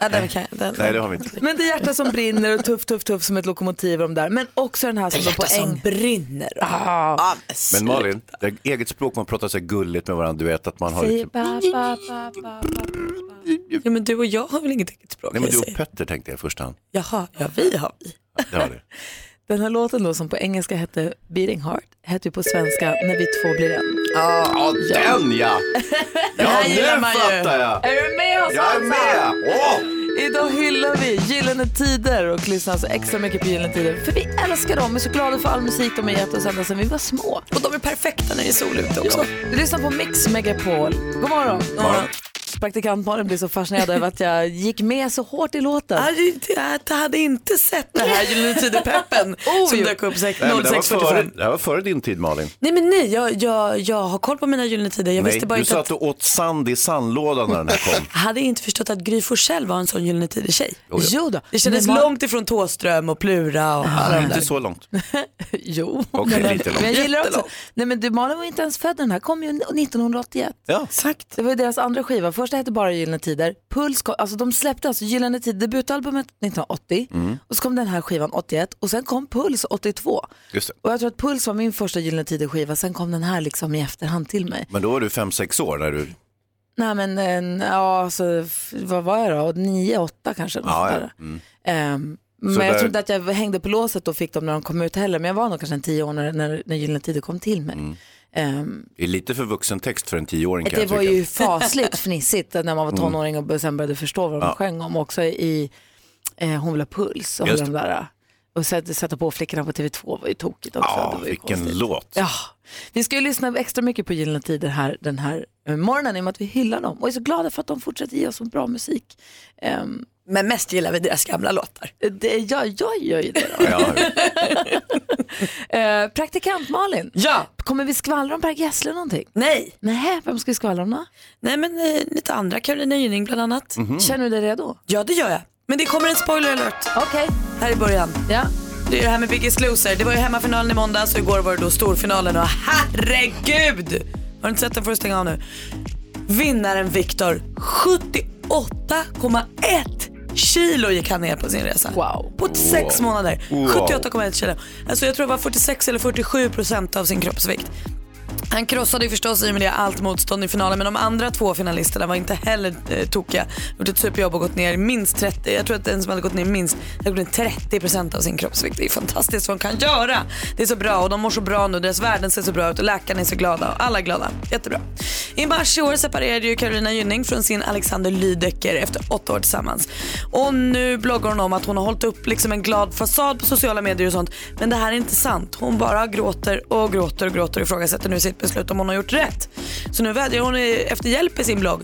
[SPEAKER 4] Ja, den kan, den,
[SPEAKER 3] nej det har vi inte.
[SPEAKER 2] Men det är hjärta som brinner och tuff, tuff, tuff som ett lokomotiv och de där. Men också den här som var
[SPEAKER 4] Hjärta
[SPEAKER 2] på
[SPEAKER 4] som
[SPEAKER 2] äng.
[SPEAKER 4] brinner.
[SPEAKER 2] Ah.
[SPEAKER 3] Men Malin, det är eget språk, man pratar så här gulligt med varandra, du vet att man har...
[SPEAKER 2] Säger
[SPEAKER 3] liksom-
[SPEAKER 2] ba, ba, ba, ba, ba.
[SPEAKER 4] Ja, men du och jag har väl inget eget språk?
[SPEAKER 3] Nej, men du
[SPEAKER 4] Hasse?
[SPEAKER 3] och Petter tänkte jag i första hand.
[SPEAKER 4] Jaha, ja vi har vi. *laughs*
[SPEAKER 3] Det har det.
[SPEAKER 2] Den här låten då som på engelska hette Beating Heart hette ju på svenska När vi två blir en.
[SPEAKER 3] Ah, Ja, den ja! Ja, nu fattar jag!
[SPEAKER 2] Är du med oss
[SPEAKER 3] Jag är med! Åh!
[SPEAKER 2] Idag hyllar vi Gyllene Tider och lyssnar alltså extra mycket på Gyllene Tider. För vi älskar dem, vi är så glada för all musik de har gett oss ända sedan vi var små.
[SPEAKER 4] Och de är perfekta när det är sol ute också.
[SPEAKER 2] Du lyssnar på Mix Megapol. God morgon!
[SPEAKER 4] Ja.
[SPEAKER 2] Praktikant Malin blev så fascinerad över att jag gick med så hårt i låten.
[SPEAKER 4] Ja, det- det- Jag hade inte sett det här Gyllene
[SPEAKER 2] *laughs*
[SPEAKER 4] Tider-peppen
[SPEAKER 2] Oh,
[SPEAKER 4] som
[SPEAKER 2] jo.
[SPEAKER 4] dök upp sex-
[SPEAKER 3] Nej, men det, här var före,
[SPEAKER 4] 06.45.
[SPEAKER 3] det här var före din tid, Malin.
[SPEAKER 4] Nej men nej, jag, jag, jag har koll på mina Gyllene Tider. Jag
[SPEAKER 3] Nej,
[SPEAKER 4] visste bara
[SPEAKER 3] du
[SPEAKER 4] inte
[SPEAKER 3] sa
[SPEAKER 4] att,
[SPEAKER 3] att du åt sand i sandlådan när den här kom.
[SPEAKER 4] jag hade inte förstått att Gry Forssell var en sån Gyllene Tider-tjej.
[SPEAKER 2] Jo då.
[SPEAKER 4] Det kändes
[SPEAKER 2] Men Mal-
[SPEAKER 4] långt ifrån Tåström och Plura och alla de
[SPEAKER 3] Inte
[SPEAKER 4] där. *laughs*
[SPEAKER 3] så långt.
[SPEAKER 2] Jo.
[SPEAKER 3] Okej,
[SPEAKER 2] men,
[SPEAKER 3] lite långt.
[SPEAKER 2] men jag gillar också.
[SPEAKER 4] Jättelångt.
[SPEAKER 2] Nej men du Malin var ju inte ens född när den här kom ju 1981.
[SPEAKER 3] Ja.
[SPEAKER 4] Exakt.
[SPEAKER 2] Det var ju deras andra skiva. Första hette bara Gyllene Tider. Puls kom, alltså de släppte alltså Gyllene Tider, debutalbumet 1980
[SPEAKER 3] Mm.
[SPEAKER 2] och så kom den här skivan 81 och sen kom Puls 82.
[SPEAKER 3] Just det.
[SPEAKER 2] Och jag tror att Puls var min första Gyllene Tider skiva, sen kom den här liksom i efterhand till mig.
[SPEAKER 3] Men då var du fem sex år när du...
[SPEAKER 2] Nej men en, ja, alltså, f- vad var jag då? 9, 8 kanske. något
[SPEAKER 3] Ja, Mm.
[SPEAKER 2] sånt
[SPEAKER 3] ja.
[SPEAKER 2] där. Ehm, men
[SPEAKER 3] Så
[SPEAKER 2] jag
[SPEAKER 3] där-
[SPEAKER 2] tror inte att jag hängde på låset och fick dem när de kom ut heller, men jag var nog kanske en 10 år när, när, när Gyllene Tider kom till mig. Ehm,
[SPEAKER 3] Det är lite för vuxen text för Mm. en tioåring kan
[SPEAKER 2] Det
[SPEAKER 3] jag
[SPEAKER 2] var
[SPEAKER 3] tycka. Mm.
[SPEAKER 2] ju
[SPEAKER 3] *laughs*
[SPEAKER 2] fasligt fnissigt när man var tonåring och sen började förstå vad de sjöng om också i eh, Hon vill ha puls och
[SPEAKER 3] Just
[SPEAKER 2] de där. eh, Och sätta, sätta på flickorna på TV2 var ju tokigt också.
[SPEAKER 3] Ja,
[SPEAKER 2] det var ju
[SPEAKER 3] vilken
[SPEAKER 2] konstigt.
[SPEAKER 3] låt.
[SPEAKER 2] Ja, vi ska ju lyssna extra mycket på Gyllene Tider här den här eh, morgonen i och med att vi hyllar dem och är så glada för att de fortsätter ge oss så bra musik. Ehm, eh,
[SPEAKER 4] Men mest gillar vi deras gamla låtar.
[SPEAKER 2] det, jag, jag gör ju det
[SPEAKER 4] *laughs*
[SPEAKER 2] *laughs* då.
[SPEAKER 3] Ja,
[SPEAKER 2] Eh, praktikant Malin,
[SPEAKER 4] Ja.
[SPEAKER 2] kommer vi skvallra om Per Gessle någonting?
[SPEAKER 4] Nej,
[SPEAKER 2] Nej, vem ska vi skvallra om då?
[SPEAKER 4] nej men eh, lite andra. Carolina Gynning bland annat.
[SPEAKER 3] Mhm.
[SPEAKER 2] Känner du dig redo?
[SPEAKER 4] Ja det gör jag. Men det kommer en spoiler alert
[SPEAKER 2] Okej,
[SPEAKER 4] här i början.
[SPEAKER 2] ja.
[SPEAKER 4] Det är det här med Biggest Loser. Det var ju hemmafinalen i måndags och igår var det då storfinalen och herregud! Har du inte sett den får du stänga av nu. Vinnaren Viktor, 78,1 kilo gick han ner på sin resa.
[SPEAKER 2] Wow.
[SPEAKER 4] På sex månader.
[SPEAKER 3] Wow.
[SPEAKER 4] 78,1 kilo. Alltså jag tror det var 46 eller 47 procent av sin kroppsvikt. Han krossade ju förstås i och med det allt motstånd i finalen men de andra två finalisterna var inte heller eh, tokiga. Gjort ett superjobb och gått ner minst 30, jag tror att den som hade gått ner minst hade gått ner 30% av sin kroppsvikt. Det är fantastiskt vad de kan göra. Det är så bra och de mår så bra nu, deras värden ser så bra ut och läkarna är så glada och alla är glada. Jättebra. I mars i år separerade ju Carolina Gynning från sin Alexander Lydecker efter åtta år tillsammans. Och nu bloggar hon om att hon har hållit upp liksom en glad fasad på sociala medier och sånt. Men det här är inte sant. Hon bara gråter och gråter och gråter och ifrågasätter nu sitt beslut om hon har gjort rätt. Så nu vädjar hon i- efter hjälp i sin blogg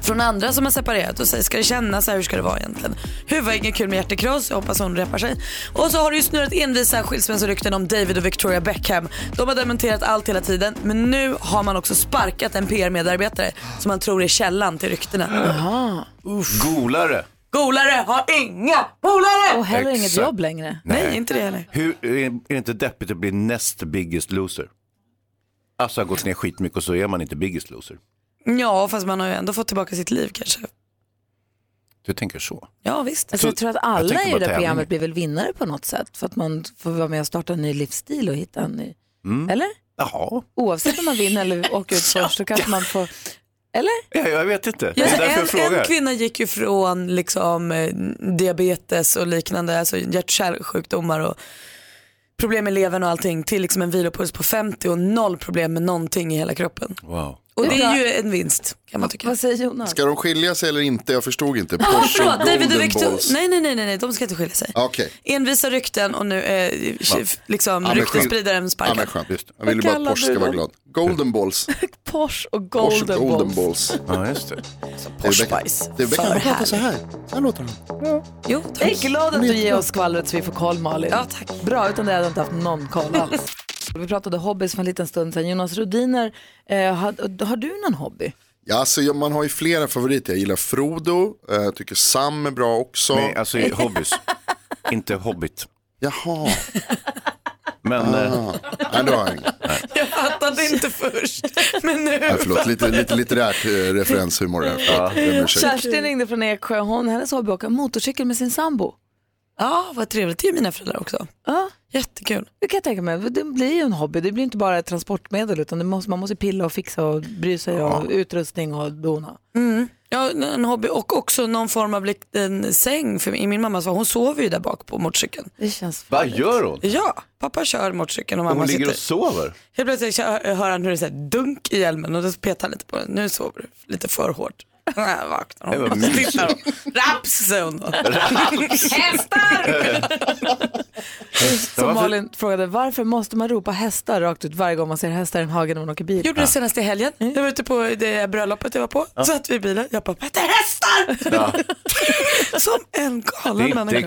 [SPEAKER 4] från andra som har separerat och säger ska det kännas så här, hur ska det vara egentligen? Hur var inget kul med hjärtekross, jag hoppas hon repar sig. Och så har det ju snurrat envisa skilsmässorykten om David och Victoria Beckham. De har dementerat allt hela tiden men nu har man också sparkat en PR-medarbetare som man tror är källan till ryktena.
[SPEAKER 3] Golare.
[SPEAKER 4] Golare har inga polare!
[SPEAKER 2] Och heller inget
[SPEAKER 3] Exakt.
[SPEAKER 2] jobb längre.
[SPEAKER 4] Nej, inte det heller.
[SPEAKER 3] Hur, är är det inte deppigt att bli näst biggest loser? Alltså har gått ner skitmycket och så är man inte biggest loser.
[SPEAKER 4] Ja, fast man har ju ändå fått tillbaka sitt liv kanske.
[SPEAKER 3] Du tänker så.
[SPEAKER 4] Ja, visst.
[SPEAKER 2] Alltså, jag tror att
[SPEAKER 3] jag
[SPEAKER 2] alla
[SPEAKER 3] tänker
[SPEAKER 2] i det
[SPEAKER 3] bara
[SPEAKER 2] där
[SPEAKER 3] tävling.
[SPEAKER 2] programmet blir väl vinnare på något sätt för att man får vara med och starta en ny livsstil och hitta en ny. Eller?
[SPEAKER 3] Mm. Jaha,
[SPEAKER 2] Oavsett om man vinner eller åker *laughs* ut först så kanske man får... Eller?
[SPEAKER 3] jag, jag vet inte. Det
[SPEAKER 4] Ja,
[SPEAKER 3] är därför jag
[SPEAKER 4] en, en
[SPEAKER 3] frågar.
[SPEAKER 4] kvinna gick ju från liksom, eh, diabetes och liknande, alltså hjärt-kärlsjukdomar och problem med levern och allting till liksom en vilopuls på 50 och noll problem med någonting i hela kroppen.
[SPEAKER 3] Wow.
[SPEAKER 4] Och det är ju en vinst kan man tycka.
[SPEAKER 2] Vad säger Jonas?
[SPEAKER 7] Ska de skilja sig eller inte? Jag förstod inte.
[SPEAKER 4] Ja,
[SPEAKER 7] Porsche
[SPEAKER 4] förlåt,
[SPEAKER 7] och
[SPEAKER 4] David och
[SPEAKER 7] Golden
[SPEAKER 4] Victor.
[SPEAKER 7] Balls.
[SPEAKER 4] Nej, nej, nej, nej, nej, de ska inte skilja sig.
[SPEAKER 7] Okej,
[SPEAKER 4] Envisa rykten och nu eh, liksom,
[SPEAKER 7] men skönt.
[SPEAKER 4] ryktesspridaren
[SPEAKER 7] ja, men
[SPEAKER 4] sparkad.
[SPEAKER 7] skönt.
[SPEAKER 3] Just det.
[SPEAKER 7] Jag ville bara att
[SPEAKER 2] kallar
[SPEAKER 7] Porsche
[SPEAKER 2] du
[SPEAKER 7] ska vara
[SPEAKER 2] dem?
[SPEAKER 7] glad. Golden Balls.
[SPEAKER 2] Porsche och
[SPEAKER 7] Porsche
[SPEAKER 2] Golden,
[SPEAKER 7] Golden
[SPEAKER 2] Balls.
[SPEAKER 7] Balls.
[SPEAKER 3] Ja, just det.
[SPEAKER 7] Porsche
[SPEAKER 4] Spice.
[SPEAKER 7] Det är
[SPEAKER 4] För
[SPEAKER 7] Beckham prata
[SPEAKER 4] härligt.
[SPEAKER 7] så här. Så här låter han.
[SPEAKER 4] Jo,
[SPEAKER 2] Jag
[SPEAKER 4] tack.
[SPEAKER 2] är glad att du ger oss skvallret så vi får koll Malin.
[SPEAKER 4] Ja, tack.
[SPEAKER 2] Bra, utan det hade jag inte haft någon koll alls. Vi pratade hobbies för en liten stund sedan. Jonas Rhodiner, eh, har, har du någon *laughs* hobby?
[SPEAKER 7] Ja, alltså, ja, man har ju flera favoriter. Jag gillar Frodo, eh, tycker Sam är bra också.
[SPEAKER 3] Nej, alltså hobbys. inte hobbit.
[SPEAKER 7] Jaha,
[SPEAKER 3] Men eh,
[SPEAKER 7] ah. nej, det har
[SPEAKER 4] *laughs*
[SPEAKER 7] jag inget.
[SPEAKER 4] Jag fattade inte först, men nu.
[SPEAKER 7] Nej, förlåt, lite, lite litterärt eh, referenshumor här. Förlåt, jag ber om ursäkt.
[SPEAKER 2] Kerstin ringde från Eksjö. Hon, hennes hobby är att åka motorcykel med sin sambo.
[SPEAKER 4] Ja, vad trevligt. Det är mina föräldrar också.
[SPEAKER 2] Ja,
[SPEAKER 4] Jättekul.
[SPEAKER 2] det kan jag tänka mig. Det blir ju en hobby. Det blir inte bara ett transportmedel utan det måste, man måste pilla och fixa och bry sig och utrustning och dona.
[SPEAKER 4] Mm. Ja, en hobby och också någon form av liten säng för i min mammas var Hon sover ju där bak på motorcykeln.
[SPEAKER 2] Det känns
[SPEAKER 3] vad gör hon?
[SPEAKER 4] Ja, pappa kör motorcykeln och mamma
[SPEAKER 3] Hon ligger
[SPEAKER 4] sitter.
[SPEAKER 3] och sover.
[SPEAKER 4] Helt plötsligt kör, hör han hur det säger dunk i hjälmen och då petar han lite på den. Nu sover du lite för hårt. *laughs* Äh, Vaknar
[SPEAKER 3] Det var
[SPEAKER 2] Alltså,
[SPEAKER 4] hon.
[SPEAKER 3] mysigt.
[SPEAKER 4] Tittar hon. Raps säger hon då. Hästar!
[SPEAKER 2] Som
[SPEAKER 3] varför-
[SPEAKER 2] Malin frågade, varför måste man ropa hästar rakt ut varje gång man ser hästar i en hage när man åker
[SPEAKER 4] *laughs*
[SPEAKER 2] bil?
[SPEAKER 4] Gjorde det senast i helgen. Jag var ute på det bröllopet jag var på. Satt vi i bilen. Jag bara, vad heter hästar? *laughs* Som en
[SPEAKER 3] Det
[SPEAKER 4] galen
[SPEAKER 3] är inte
[SPEAKER 4] människa.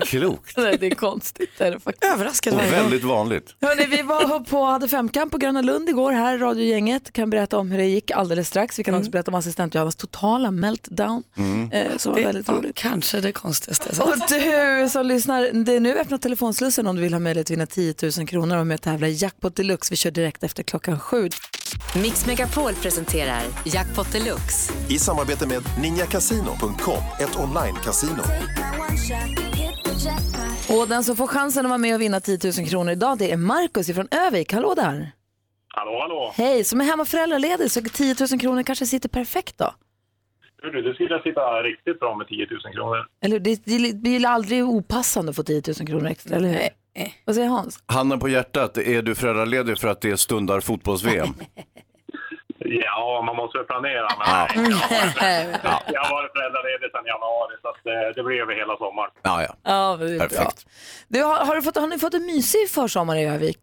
[SPEAKER 2] *laughs*
[SPEAKER 3] klokt.
[SPEAKER 2] Nej, det är konstigt. Det är det faktiskt.
[SPEAKER 4] Överraskad
[SPEAKER 3] Och
[SPEAKER 4] varje gång.
[SPEAKER 3] väldigt vanligt.
[SPEAKER 2] Hörrni, vi var på, hade femkamp på Gröna Lund igår här i radiogänget. Kan berätta om hur det gick alldeles strax. Vi kan också berätta om assistent Johannas totala meltdown.
[SPEAKER 4] Mm.
[SPEAKER 2] Eh, som var väldigt
[SPEAKER 4] var
[SPEAKER 2] roligt.
[SPEAKER 4] kanske det konstigaste jag sett.
[SPEAKER 2] Alltså, Och du som lyssnar, det är nu öppnat telefonslussen om du vill ha möjlighet att vinna 10 000 kronor och med att tävla i Jackpot Deluxe. Vi kör direkt efter klockan sju.
[SPEAKER 8] Mix Megapol presenterar Jackpot Deluxe.
[SPEAKER 9] I samarbete med ninjakasino.com, ett online-casino.
[SPEAKER 2] Och den som får chansen att vara med och vinna 10 000 kronor idag det är Markus ifrån Övik. Hallå där!
[SPEAKER 10] Hallå, hallå.
[SPEAKER 2] Hej, som är hemma och föräldraledig så 10 000 kronor kanske sitter perfekt då.
[SPEAKER 10] Hur du, du skulle sitta riktigt bra med 10 000 kronor.
[SPEAKER 2] Eller hur? det, det blir ju aldrig opassande att få 10 000 kronor extra, eller hur? Vad säger Hans?
[SPEAKER 3] Handen på hjärtat, är du föräldraledig för att det
[SPEAKER 10] *laughs*
[SPEAKER 3] stundar fotbolls-VM?
[SPEAKER 10] Ja, man måste väl planera.
[SPEAKER 4] *laughs*
[SPEAKER 10] Men nej, jag har varit föräldraledig sedan januari, så att, eh, det blir över hela sommaren.
[SPEAKER 3] Ja, ja.
[SPEAKER 2] Ja, det är
[SPEAKER 3] Perfekt.
[SPEAKER 2] Du, har, har, du fått, har ni fått en mysig försommar i Övik?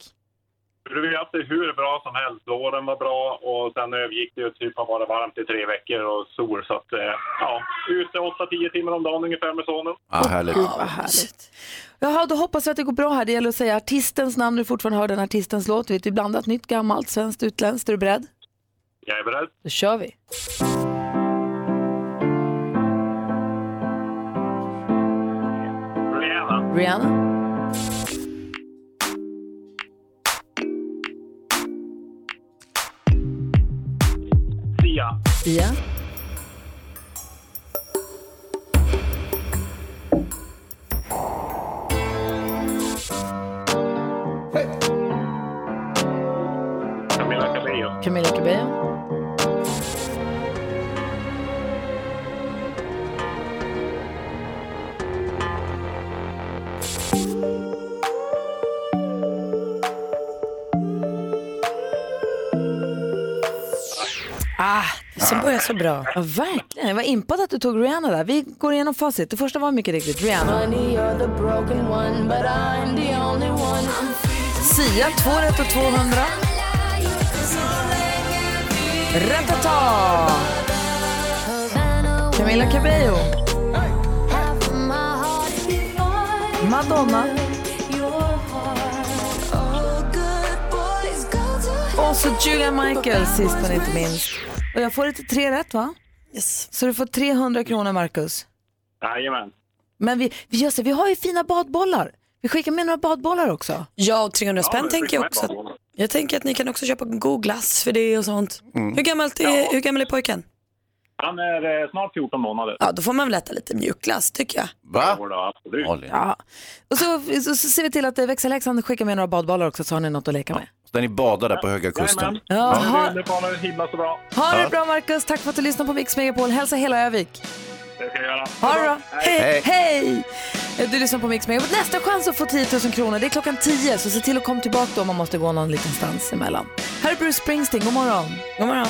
[SPEAKER 10] Du, Vi har haft det hur bra som helst. Våren var bra och sen övergick det ju typ att vara varmt i tre veckor och sol. Så att, eh, ja, ute 8-10 timmar om dagen ungefär med sonen.
[SPEAKER 3] ja härligt.
[SPEAKER 2] Vad härligt. Jaha, då hoppas vi att det går bra här. Det gäller att säga artistens namn när du fortfarande hör den artistens låt. Vet du typ blandat, nytt, gammalt, svenskt, utländskt. Är du beredd?
[SPEAKER 10] Jag är beredd.
[SPEAKER 2] Då kör vi.
[SPEAKER 10] Rihanna,
[SPEAKER 2] Rihanna.
[SPEAKER 10] Sia,
[SPEAKER 2] Sia.
[SPEAKER 10] Camilla Cabello,
[SPEAKER 2] Camilla Cabello.
[SPEAKER 4] Ah, Som börjar så bra.
[SPEAKER 2] Ja, verkligen. Jag var impad att du tog Rihanna där. Vi går igenom facit. Det första var mycket riktigt Rihanna. Sia, två rätt och 200. Ratata! Camila Cabello. Madonna. Och så Julia Michaels sist men inte minst. Och jag får det till tre rätt va? Yes. Så du får 300 kronor Marcus.
[SPEAKER 10] Jajamän.
[SPEAKER 2] Men vi, vi, gör så, vi har ju fina badbollar. Vi skickar med några badbollar också.
[SPEAKER 4] Ja, och 300 spänn
[SPEAKER 2] men
[SPEAKER 4] tänker jag också. att- Jag tänker att ni kan också köpa god glass för det och sånt.
[SPEAKER 2] Mm.
[SPEAKER 4] Hur, gammalt är, hur gammal är pojken?
[SPEAKER 10] Han är eh, snart 14 månader.
[SPEAKER 4] Ja, då får man väl äta lite mjukglass tycker jag.
[SPEAKER 10] Va? Jo, då, absolut.
[SPEAKER 2] Ja. Och så, så, så ser vi till att eh, växelhäxan skickar med några badbollar också så har ni något att leka med.
[SPEAKER 3] Den är badad där på Höga Kusten.
[SPEAKER 2] Ja, ha-
[SPEAKER 10] Nu var det himla så bra.
[SPEAKER 2] Ha det
[SPEAKER 3] Ja.
[SPEAKER 2] bra Marcus, tack för att du lyssnade på Mix Megapol. Hälsa hela Övik.
[SPEAKER 10] Det ska jag göra.
[SPEAKER 2] Ha det bra. Hej.
[SPEAKER 10] Hej.
[SPEAKER 2] Hej. Eh, Du lyssnar på Mix Megapol. Nästa chans att få 10 000 kronor, det är klockan 10. Så se till att komma tillbaka då om man måste gå någon liten stans emellan. Här är Bruce Springsteen, god morgon.
[SPEAKER 4] God morgon.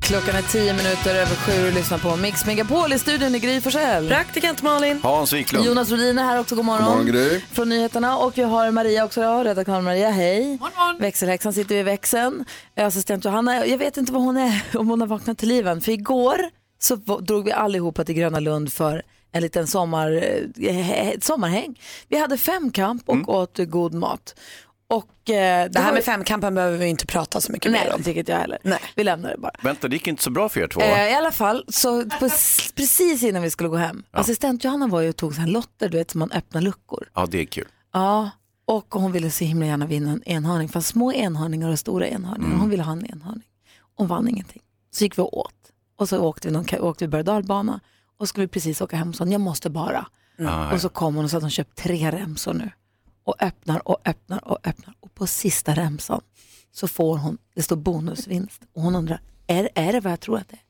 [SPEAKER 2] Klockan är 10 minuter över sju och lyssnar på Mix Megapol i studion i Gry Forssell.
[SPEAKER 4] Praktikant Malin.
[SPEAKER 3] Hans Wiklund.
[SPEAKER 2] Jonas Rodin är här också, god morgon.
[SPEAKER 3] God morgon, Gry.
[SPEAKER 2] Från nyheterna och vi har Maria också, ja, redaktör Maria, hej. Växelhäxan sitter vid växeln. Assistent Johanna, jag vet inte vad hon är, *laughs* om hon har vaknat till liven. För igår så v- drog vi allihopa till Gröna Lund för en liten sommar, eh, he- ett sommarhäng. Vi hade femkamp och
[SPEAKER 3] Mm.
[SPEAKER 2] åt god mat. Och, eh,
[SPEAKER 4] Det här med
[SPEAKER 2] femkampen behöver vi inte prata så mycket mer om. Nej, det tycker inte jag heller. Nej. Vi lämnar det bara.
[SPEAKER 3] Vänta, det gick inte så bra för er två. va?
[SPEAKER 2] Eh, I alla fall, så på, precis innan vi skulle gå hem, assistent Johanna var ju och tog så här lotter, du vet, som man öppnar luckor.
[SPEAKER 3] Ja, det är kul.
[SPEAKER 2] Ja, och hon ville så himla gärna vinna en enhörning. Fast små enhörningar och stora enhörningar. Hon ville ha en enhörning. Hon vann ingenting. Så gick vi och åt. Och så åkte vi, någon, ka- åkte vi berg och dalbana. Och skulle vi precis åka hem och sa hon, jag måste bara.
[SPEAKER 11] Mm. Ah, ja.
[SPEAKER 2] Och så kom hon och sa att hon köpt tre remsor nu. Och öppnar och öppnar och öppnar. Och på sista remsan så får hon, det står bonusvinst. Och hon undrar, är, är det vad jag tror att det är?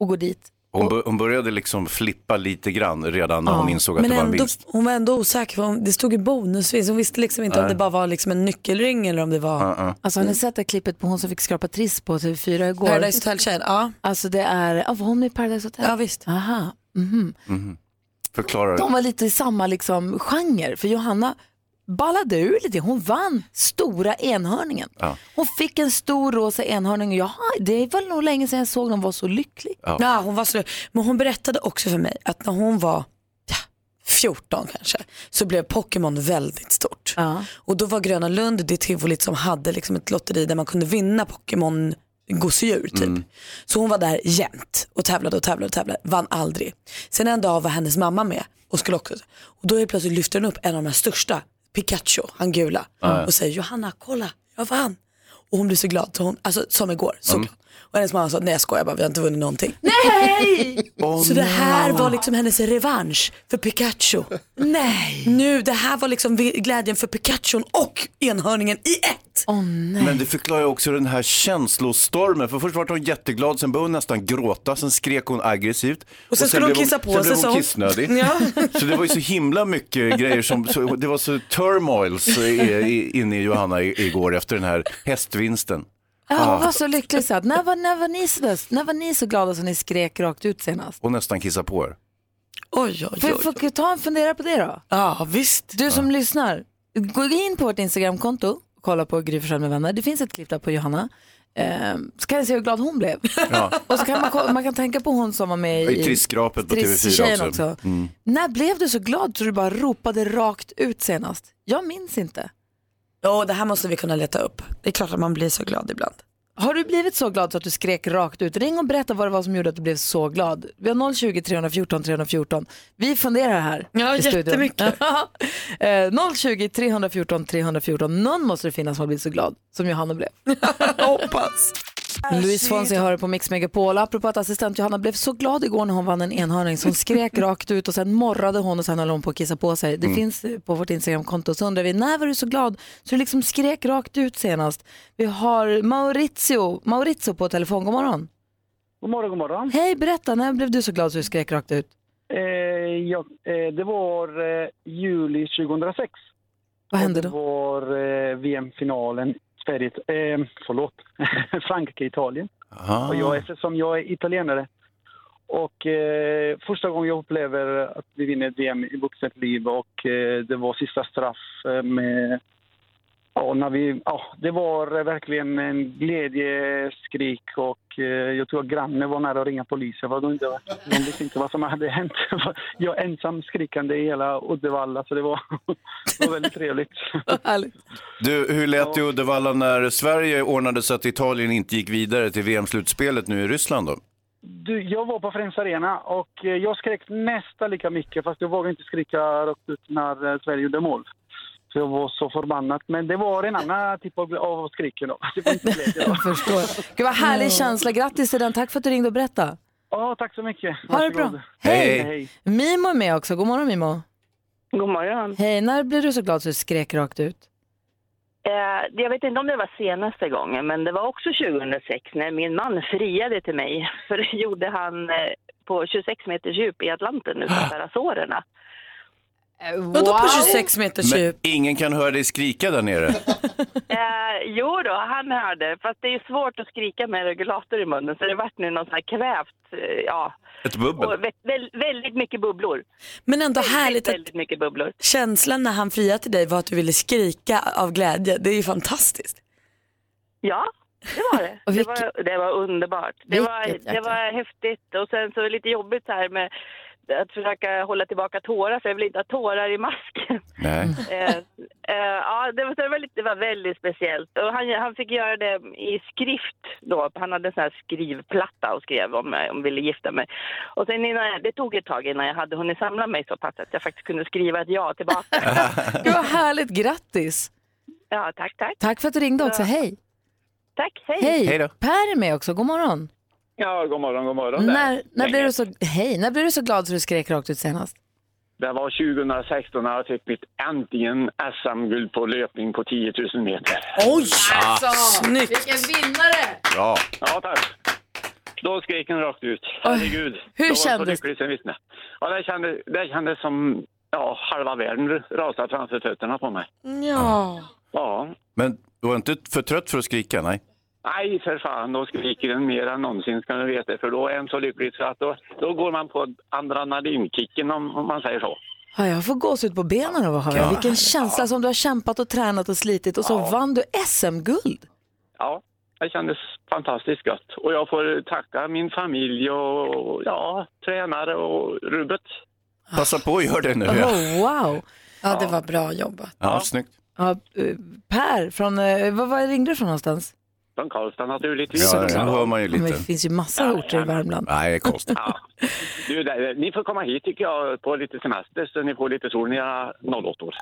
[SPEAKER 2] Och går dit.
[SPEAKER 3] Hon, bör- hon började liksom flippa lite grann redan när hon insåg att
[SPEAKER 4] Men
[SPEAKER 3] det var en
[SPEAKER 4] ändå,
[SPEAKER 3] vinst.
[SPEAKER 4] hon var ändå osäker, för hon, det stod ju bonusvis. Hon visste liksom inte om
[SPEAKER 3] Nej.
[SPEAKER 4] det bara var liksom en nyckelring eller om det var...
[SPEAKER 2] Alltså har ni sett det klippet på hon som fick skrapa triss på TV4 igår?
[SPEAKER 4] Paradise Hotel-tjejen, ja.
[SPEAKER 2] Alltså det är, ja, var hon med i Paradise Hotel? Ja
[SPEAKER 4] visst.
[SPEAKER 2] Aha. mhm.
[SPEAKER 3] Mhm. Förklara.
[SPEAKER 2] De var lite i samma liksom, genre, för Johanna ballade ur lite. Hon vann stora enhörningen.
[SPEAKER 3] Ja.
[SPEAKER 2] Hon fick en stor rosa enhörning och jag, det var nog länge sedan jag såg någon vara så lycklig.
[SPEAKER 4] Ja. hon var så, men hon berättade också för mig att när hon var ja, 14 kanske så blev Pokémon väldigt stort. Och då var Gröna Lund det tivolit som hade liksom ett lotteri där man kunde vinna Pokémon gosedjur typ. Så hon var där jämt och tävlade och tävlade och tävlade, vann aldrig. Sen en dag var hennes mamma med och skulle också, och då helt plötsligt lyfter hon upp en av de här största, Pikachu, han gula,
[SPEAKER 11] Ja, ja.
[SPEAKER 4] och säger Johanna kolla, jag vann. Och hon blev så glad, så hon, alltså som igår, så
[SPEAKER 3] Mm.
[SPEAKER 4] glad. Och hennes mamma sa, nej jag skojar bara, vi har inte vunnit någonting.
[SPEAKER 2] Nej!
[SPEAKER 4] *laughs* så det här var liksom hennes revansch för Pikachu.
[SPEAKER 2] Nej!
[SPEAKER 4] Nu, det här var liksom vi- glädjen för Pikachu och enhörningen i ett.
[SPEAKER 2] Åh nej.
[SPEAKER 3] Men det förklarar ju också den här känslostormen. För först var hon jätteglad, sen började hon nästan gråta, sen skrek hon aggressivt.
[SPEAKER 4] Och sen skulle hon
[SPEAKER 3] blev
[SPEAKER 4] kissa på
[SPEAKER 3] sen
[SPEAKER 4] sig,
[SPEAKER 3] blev
[SPEAKER 4] sa
[SPEAKER 3] hon
[SPEAKER 4] hon.
[SPEAKER 3] kissnödig.
[SPEAKER 4] Ja.
[SPEAKER 3] Så det var ju så himla mycket grejer som, så, det var så turmoils i, i, inne i Johanna i, igår efter den här hästvinsten.
[SPEAKER 2] Ja, hon
[SPEAKER 3] Ah,
[SPEAKER 2] var så lycklig så att, när var, när, var ni så, när var ni så glada som ni skrek rakt ut senast?
[SPEAKER 3] och nästan kissa på er.
[SPEAKER 4] Oj, oj,
[SPEAKER 2] Får, får ta en fundera på det då?
[SPEAKER 4] Ja, visst.
[SPEAKER 2] Du som lyssnar, gå in på vårt Instagramkonto och kolla på Gry Forssell med vänner. Det finns ett klipp där på Johanna. Ehm, så kan ni se hur glad hon blev.
[SPEAKER 3] Ja.
[SPEAKER 2] *laughs* Och så kan man, ko- man kan tänka på hon som var med
[SPEAKER 3] I trisskrapet på TV4
[SPEAKER 2] Trisstjejen
[SPEAKER 3] också. Mm.
[SPEAKER 2] När blev du så glad så du bara ropade rakt ut senast? Jag minns inte.
[SPEAKER 4] Ja, det här måste vi kunna leta upp. Det är klart att man blir så glad ibland.
[SPEAKER 2] Har du blivit så glad så att du skrek rakt ut? Ring och berätta vad det var som gjorde att du blev så glad. Vi har 020 314 314. Vi funderar här
[SPEAKER 4] Ja,
[SPEAKER 2] i studion.
[SPEAKER 4] jättemycket.
[SPEAKER 2] *laughs* Eh, 020 314 314. Någon måste det finnas som har blivit så glad som
[SPEAKER 4] *laughs*
[SPEAKER 2] Johanna blev.
[SPEAKER 4] Hoppas.
[SPEAKER 2] Louise Fonzie hör på Mix Megapol. Apropå att assistent Johanna blev så glad igår när hon vann en enhörning så
[SPEAKER 4] *laughs*
[SPEAKER 2] hon skrek rakt ut och sen morrade hon och sen höll hon på att kissa på sig. Det
[SPEAKER 11] Mm.
[SPEAKER 2] finns eh, på vårt Instagramkonto. Så undrar vi när var du så glad så du liksom skrek rakt ut senast? Vi har Maurizio, Maurizio på telefon. God morgon.
[SPEAKER 12] God morgon, god morgon.
[SPEAKER 2] Hej, berätta. När blev du så glad så du skrek rakt ut?
[SPEAKER 12] Eh, ja, eh, det var eh, juli 2006.
[SPEAKER 2] Vad hände
[SPEAKER 12] då? Det var eh, VM-finalen, Sverige, eh, förlåt, *laughs* Frankrike-Italien.
[SPEAKER 3] Ah.
[SPEAKER 12] Och jag, eftersom jag är italienare och eh, första gången jag upplever att vi vinner ett VM i vuxet liv och eh, det var sista straff eh, med Ja, när vi, ja, det var eh, verkligen en glädjeskrik och eh, jag tror att grannen var nära att ringa polisen. För de, inte, de visste inte vad som hade hänt. *laughs* Jag var ensam skrikande i hela Uddevalla, så det var, *laughs* det var väldigt trevligt.
[SPEAKER 3] Du, hur lät det i Uddevalla när Sverige ordnade så att Italien inte gick vidare till VM-slutspelet nu i Ryssland då?
[SPEAKER 12] Du, jag var på Friends Arena och eh, jag skrek nästan lika mycket fast jag vågade inte skrika rakt ut när eh, Sverige gjorde mål. Så jag var så förbannad. Men det var en annan typ av, av skriken då. *laughs* Det var inte glädje då.
[SPEAKER 2] förstår. Gud vad härlig känsla. Grattis till den. Tack för att du ringde och berättade.
[SPEAKER 12] Ja, tack så mycket.
[SPEAKER 2] Ha det bra.
[SPEAKER 12] Varsågod.
[SPEAKER 2] Hej. Mimo är med också. God morgon Mimo.
[SPEAKER 11] God morgon.
[SPEAKER 2] Hej, när blev du så glad så du skrek rakt ut?
[SPEAKER 11] Eh, jag vet inte om det var senaste gången, men det var också 2006 när min man friade till mig. *laughs* För det gjorde han eh, på 26 meters djup i Atlanten
[SPEAKER 3] *gasps*
[SPEAKER 11] utanför Azorerna.
[SPEAKER 4] Vadå på 26 meters
[SPEAKER 3] Men
[SPEAKER 4] djup?
[SPEAKER 3] ingen kan höra dig skrika där nere.
[SPEAKER 11] Eh, jo då, han hörde. Fast det är ju svårt att skrika med regulator i munnen så det vart nu någon sån här kvävt, eh, ja.
[SPEAKER 3] Ett bubbel.
[SPEAKER 11] Och vä- vä- väldigt mycket bubblor.
[SPEAKER 4] Men ändå härligt att
[SPEAKER 11] Väldigt mycket bubblor.
[SPEAKER 4] känslan när han friade till dig var att du ville skrika av glädje. Det är ju fantastiskt.
[SPEAKER 11] Ja, det var det. Det var, det var underbart. Det
[SPEAKER 4] Vilket
[SPEAKER 11] var, det
[SPEAKER 4] jäkla-
[SPEAKER 11] var häftigt och sen så är det lite jobbigt så här med att försöka hålla tillbaka tårar för jag vill inte ha tårar i masken.
[SPEAKER 3] Nej.
[SPEAKER 11] *laughs* Eh, eh, ja, det var, det, var lite, det var väldigt speciellt och han, han fick göra det i skrift då. Han hade en sån här skrivplatta och skrev om jag om jag ville gifta mig. Och sen innan jag, det tog ett tag innan jag hade hunnit samla mig så pass att jag faktiskt kunde skriva ett ja tillbaka.
[SPEAKER 2] Gud vad härligt. Grattis.
[SPEAKER 11] ja, tack, tack.
[SPEAKER 2] Tack för att du ringde också.
[SPEAKER 11] Ja.
[SPEAKER 2] Hej.
[SPEAKER 11] Tack, hej.
[SPEAKER 2] Hej. Per är med också. God morgon.
[SPEAKER 13] Ja, god morgon, god morgon.
[SPEAKER 2] När, när,
[SPEAKER 13] Länge.
[SPEAKER 2] blev du så, hej, när blev du så glad så du skrek rakt ut senast?
[SPEAKER 13] Det var 2016 när jag fick mitt äntligen SM-guld på löpning på 10 000 meter.
[SPEAKER 2] Oj!
[SPEAKER 13] Ah,
[SPEAKER 14] Alltså.
[SPEAKER 2] snyggt! Vilken vinnare!
[SPEAKER 13] Bra! Ja, tack. Då skrek den rakt ut. Herregud.
[SPEAKER 2] hur
[SPEAKER 13] Då Var
[SPEAKER 2] kändes
[SPEAKER 13] jag så lycklig som vittne. Ja, det kändes, det kändes som ja, halva världen rasade framför fötterna på mig.
[SPEAKER 4] Ja.
[SPEAKER 13] Ja.
[SPEAKER 3] Men du var inte för trött för att skrika? Nej.
[SPEAKER 13] Nej, för fan, då skriker den mer än någonsin ska du veta, för då är en så lycklig så att då, då går man på adrenalinkicken om, om man säger så.
[SPEAKER 2] Ja, jag får gåshud på benen av att höra.
[SPEAKER 13] Ja.
[SPEAKER 2] Vilken känsla som du har kämpat och tränat och slitit och så vann du SM-guld.
[SPEAKER 13] Ja, det kändes fantastiskt gott. Och jag får tacka min familj och ja, tränare och rubbet.
[SPEAKER 3] Passa på att göra det nu. Ja,
[SPEAKER 2] Oh, wow!
[SPEAKER 4] Ja, det var bra jobbat.
[SPEAKER 3] ja snyggt.
[SPEAKER 2] Ja, eh, per, från, eh, vad, vad ringde du från någonstans?
[SPEAKER 13] Från Karlstad naturligtvis.
[SPEAKER 3] Ja, det hör man ju
[SPEAKER 2] Men det finns ju massor av orter i Värmland.
[SPEAKER 3] Nej, det är konstigt.
[SPEAKER 13] Ja. Du, det, ni får komma hit tycker jag på lite semester så ni får lite sol när jag är 08 år.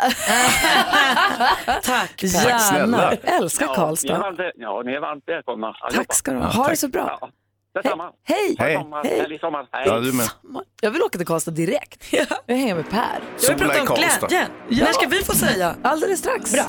[SPEAKER 4] Tack
[SPEAKER 2] Per. Gärna. Älskar
[SPEAKER 13] Ja, ni är
[SPEAKER 2] Karlstad.
[SPEAKER 13] varmt, ja, ni är varmt välkomna
[SPEAKER 2] Tack ska du ha. Ha det så bra.
[SPEAKER 13] Ja, detsamma.
[SPEAKER 2] *laughs* Hej!
[SPEAKER 13] Hej! Sommar,
[SPEAKER 2] Hej.
[SPEAKER 13] Härlig sommar. Hej.
[SPEAKER 3] Ja, du med.
[SPEAKER 2] Jag vill åka till Karlstad direkt. *laughs* Jag hänger med Per.
[SPEAKER 4] Jag vill prata om glädjen. När ska vi få säga?
[SPEAKER 2] Alldeles strax. Bra.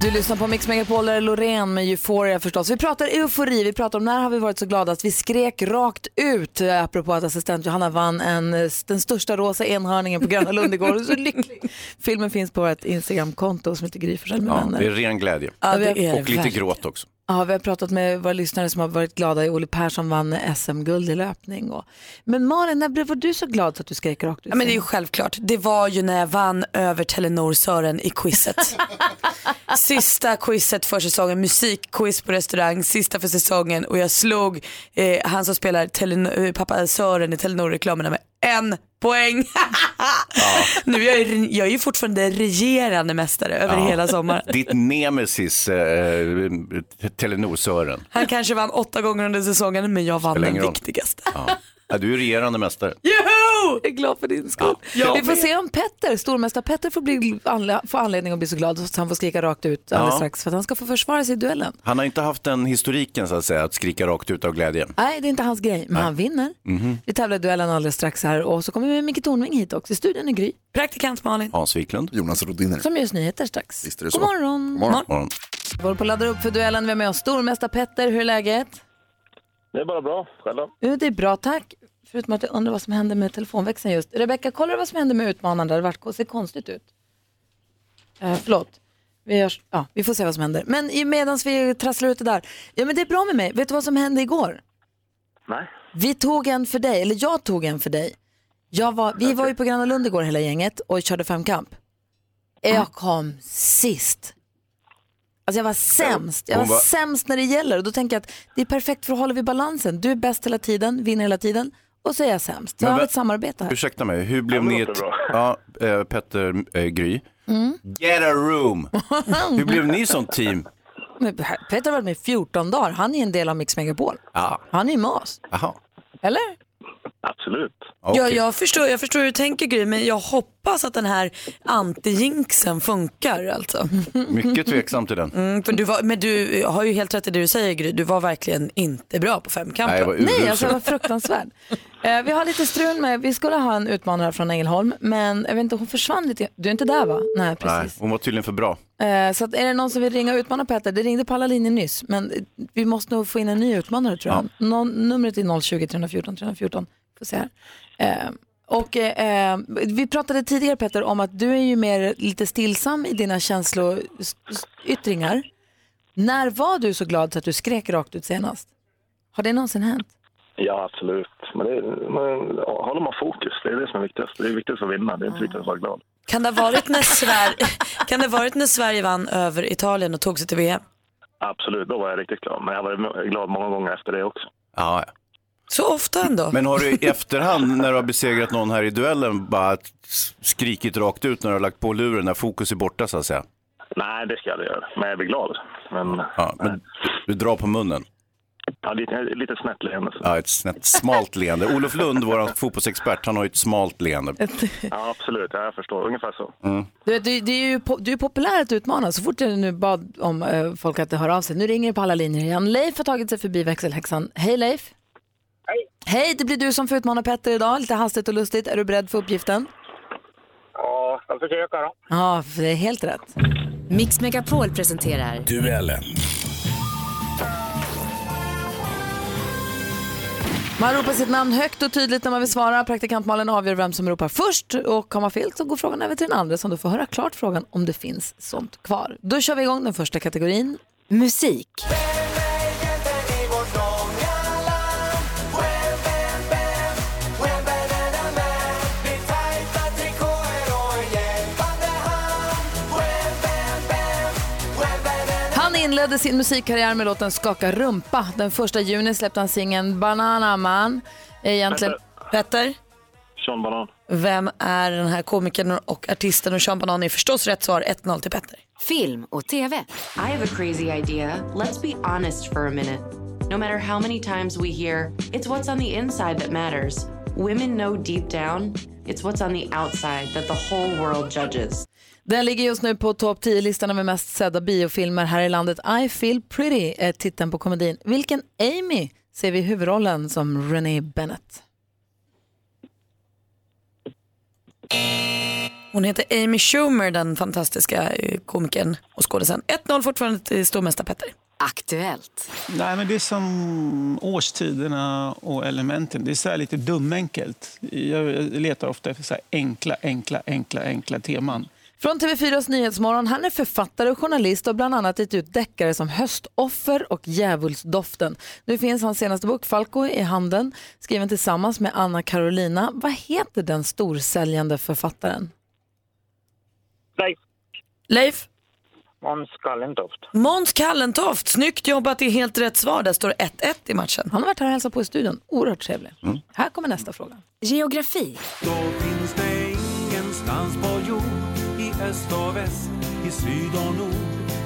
[SPEAKER 2] Du lyssnar på Mix Megapol, där är Loreen med Euphoria förstås. Vi pratar eufori, vi pratar om när har vi varit så glada att vi skrek rakt ut eh, apropå att assistent Johanna vann en, eh, den största rosa enhörningen på
[SPEAKER 3] *laughs*
[SPEAKER 2] Gröna Lund igår. Så lycklig. Filmen finns på vårt Instagramkonto som heter Gry Forssell med
[SPEAKER 3] Ja,
[SPEAKER 2] vänner.
[SPEAKER 3] det är ren glädje.
[SPEAKER 2] Ja, det är det
[SPEAKER 3] Och lite
[SPEAKER 2] verkligen.
[SPEAKER 3] gråt också.
[SPEAKER 2] Ja, vi har pratat med våra lyssnare som har varit glada. i Olle Persson vann SM-guld i löpning. Och... Men Malin, när blev var du så glad så att du skrek rakt ut?
[SPEAKER 4] Ja, men det är ju självklart. Det var ju när jag vann över Telenor Sören i quizet. sista quizet för säsongen, musikquiz på restaurang, sista för säsongen och jag slog eh, han som spelar Telenor, eh, pappa Sören i Telenor-reklamerna med en poäng. *laughs* nu är jag, ju, jag är ju fortfarande regerande mästare över
[SPEAKER 3] Ja.
[SPEAKER 4] hela sommaren.
[SPEAKER 3] Ditt nemesis, eh, Telenor-Sören.
[SPEAKER 4] Han kanske vann åtta gånger under säsongen men jag vann
[SPEAKER 3] Spelar
[SPEAKER 4] den
[SPEAKER 3] ingen roll.
[SPEAKER 4] viktigaste.
[SPEAKER 3] Ja. Ja, du är regerande mästare.
[SPEAKER 2] Joho! Jag är glad för din skull.
[SPEAKER 3] Ja.
[SPEAKER 2] Vi får se om Petter, stormästare Petter, får, bli, anle- får anledning att bli så glad så att han får skrika rakt ut alldeles
[SPEAKER 3] Ja.
[SPEAKER 2] strax för att han ska få försvara sig i duellen.
[SPEAKER 3] Han har inte haft den historiken så att säga, att skrika rakt ut av glädje.
[SPEAKER 2] Nej, det är inte hans grej, men han vinner.
[SPEAKER 3] Mhm.
[SPEAKER 2] Vi tävlar i duellen alldeles strax här och så kommer vi med Micke Tornving hit också. I studion är Gry,
[SPEAKER 4] Praktikant Malin.
[SPEAKER 3] Hans Wiklund.
[SPEAKER 7] Jonas Rodiner.
[SPEAKER 2] som gör nyheter strax.
[SPEAKER 7] Visst är det
[SPEAKER 2] God
[SPEAKER 7] så.
[SPEAKER 2] morgon.
[SPEAKER 7] God morgon.
[SPEAKER 2] Vi håller på att ladda upp för duellen. Vi har med oss stormästare Petter. Hur är läget?
[SPEAKER 15] Det är bara bra. Själv då?
[SPEAKER 2] Jo, det är bra, tack. Förutom att jag undrar vad som hände med telefonväxeln just. Rebecka, kollar du vad som hände med utmanaren? där? Det vart- ser konstigt ut. Eh, förlåt. Vi, gör, ja, vi får se vad som händer. Men medan vi trasslar ut det där. Ja, men det är bra med mig. Vet du vad som hände igår?
[SPEAKER 15] Nej.
[SPEAKER 2] Vi tog en för dig, eller jag tog en för dig. Jag var, vi var ju på Gröna Lund igår hela gänget och körde femkamp. Jag kom sist. Alltså jag var sämst. Jag var,
[SPEAKER 16] Hon var-
[SPEAKER 2] sämst när det gäller. Och då tänker jag att det är perfekt för att hålla vid balansen. Du är bäst hela tiden, vinner hela tiden och så är jag sämst. Jag
[SPEAKER 3] Men
[SPEAKER 2] har
[SPEAKER 3] vä-
[SPEAKER 2] ett samarbete här.
[SPEAKER 3] Ursäkta mig, hur blev ni ett... Ja, eh, Petter eh, Gry.
[SPEAKER 2] Mm.
[SPEAKER 3] Get a
[SPEAKER 2] *laughs*
[SPEAKER 3] room! Hur blev ni sånt team?
[SPEAKER 2] Men Peter har varit med i 14 dagar. Han är en del av Mix Megapol.
[SPEAKER 3] Ja,
[SPEAKER 2] Han är med oss.
[SPEAKER 3] Jaha.
[SPEAKER 2] Eller?
[SPEAKER 13] Absolut.
[SPEAKER 4] Ja, jag förstår, jag förstår hur du tänker Gry, men jag hoppas att den här anti-jinxen funkar alltså.
[SPEAKER 3] mycket
[SPEAKER 2] *laughs*
[SPEAKER 3] tveksam till den.
[SPEAKER 4] Mm, för du var, men du har ju helt rätt i det du säger Gry, du var verkligen inte bra på femkampen.
[SPEAKER 3] Nej, jag var urusel.
[SPEAKER 2] Nej, alltså jag var
[SPEAKER 3] *laughs*
[SPEAKER 2] fruktansvärd. eh, vi har lite strul med, vi skulle ha en utmanare från Ängelholm, men jag vet inte, hon försvann lite. Du är inte där
[SPEAKER 3] Mm.
[SPEAKER 2] va? Nej, precis.
[SPEAKER 3] Nej, hon var tydligen för bra.
[SPEAKER 2] Eh, så att, är det någon som vill ringa och utmana Peter? Det ringde på alla linjer nyss, men eh, vi måste nog få in en ny utmanare tror jag. Nå- numret är 020 314 314. Får se här. Eh, och, eh, eh, vi pratade tidigare Peter om att du är ju mer lite stillsam i dina känsloyttringar. När var du så glad så att du skrek rakt ut senast? Har det någonsin hänt?
[SPEAKER 15] Ja, absolut. Men, det, men ja, håller man fokus, det är det som är viktigast. Det är viktigt att vinna, det är inte viktigt att vara glad.
[SPEAKER 4] Kan det ha varit när, Sver- *laughs* kan det ha varit när Sverige vann över Italien och tog sig till VM?
[SPEAKER 15] Absolut, då var jag riktigt glad. Men jag var mo- glad många gånger efter det också.
[SPEAKER 3] Ja, ja.
[SPEAKER 4] Så ofta ändå.
[SPEAKER 3] Men har du i efterhand när du har besegrat någon här i duellen bara skrikit rakt ut när du har lagt på luren, när fokus är borta så att säga?
[SPEAKER 15] Nej, det ska jag aldrig göra. Men jag blir glad. Men,
[SPEAKER 3] ja, men du drar på munnen?
[SPEAKER 15] Ja, lite, lite snett leende. så.
[SPEAKER 3] Ja, ett snett, smalt leende. Olof Lund, vår fotbollsexpert, han har ju ett smalt leende.
[SPEAKER 15] Ja, absolut. Ja, jag förstår. Ungefär så.
[SPEAKER 3] Mm.
[SPEAKER 2] Du, vet, du, du, är ju po- du är populär att utmana. Så fort jag nu bad om eh, folk att höra av sig. Nu ringer det på alla linjer igen. Leif har tagit sig förbi växelhäxan. Hej Leif! Hej! Hej, det blir du som får utmana Petter idag. Lite hastigt och lustigt. Är du beredd för uppgiften?
[SPEAKER 17] Ja, jag ska försöka då.
[SPEAKER 2] Ja, för det är helt rätt.
[SPEAKER 8] Mix Megapol presenterar
[SPEAKER 18] Duellen.
[SPEAKER 2] Man ropar sitt namn högt och tydligt när man vill svara. Praktikantmalen avgör vem som ropar först och har man fel så går frågan över till den andra som då får höra klart frågan om det finns sånt kvar. Då kör vi igång den första kategorin. Musik. Han inledde sin musikkarriär med låten Skaka rumpa. Den första juni släppte han singeln Banana Man. Eh, Egentligen...
[SPEAKER 4] Petter?
[SPEAKER 15] Sean Banan.
[SPEAKER 4] Vem är den här komikern och artisten och Sean Banan är förstås rätt svar. 1-0 till Petter.
[SPEAKER 16] *laughs* Film och TV. I have a crazy idea. Let's be honest for a minute. No matter how many times we hear, it's what's on the inside that matters. Women know deep down, it's what's on the outside that the whole world judges.
[SPEAKER 2] Den ligger just nu på topp 10-listan över mest sedda biofilmer här i landet. I feel pretty är titeln på komedin. Vilken Amy ser vi i huvudrollen som Renee Bennett?
[SPEAKER 4] Hon heter Amy Schumer, den fantastiska eh, komikern och skådisen. 1-0 fortfarande till stormästare Petter.
[SPEAKER 8] Aktuellt.
[SPEAKER 19] Nej, men det är som årstiderna och elementen. Det är så här lite dumenkelt. Jag jag letar ofta efter så här enkla, enkla, enkla, enkla teman.
[SPEAKER 2] Från TV4s Nyhetsmorgon. Han är författare och journalist och bland annat gett ut deckare som Höstoffer och Djävulsdoften. Nu finns hans senaste bok Falco i handen, skriven tillsammans med Anna Carolina. Vad heter den storsäljande författaren?
[SPEAKER 17] Leif.
[SPEAKER 4] Leif?
[SPEAKER 17] Måns Kallentoft.
[SPEAKER 4] Måns Kallentoft, snyggt jobbat, det är helt rätt svar. Där står det 1-1 i matchen.
[SPEAKER 2] Han har varit här och hälsat på i studion, oerhört trevlig. Här kommer nästa fråga. *laughs*
[SPEAKER 8] Geografi.
[SPEAKER 20] Då finns det ingenstans på jord I öst och väst, i syd och nord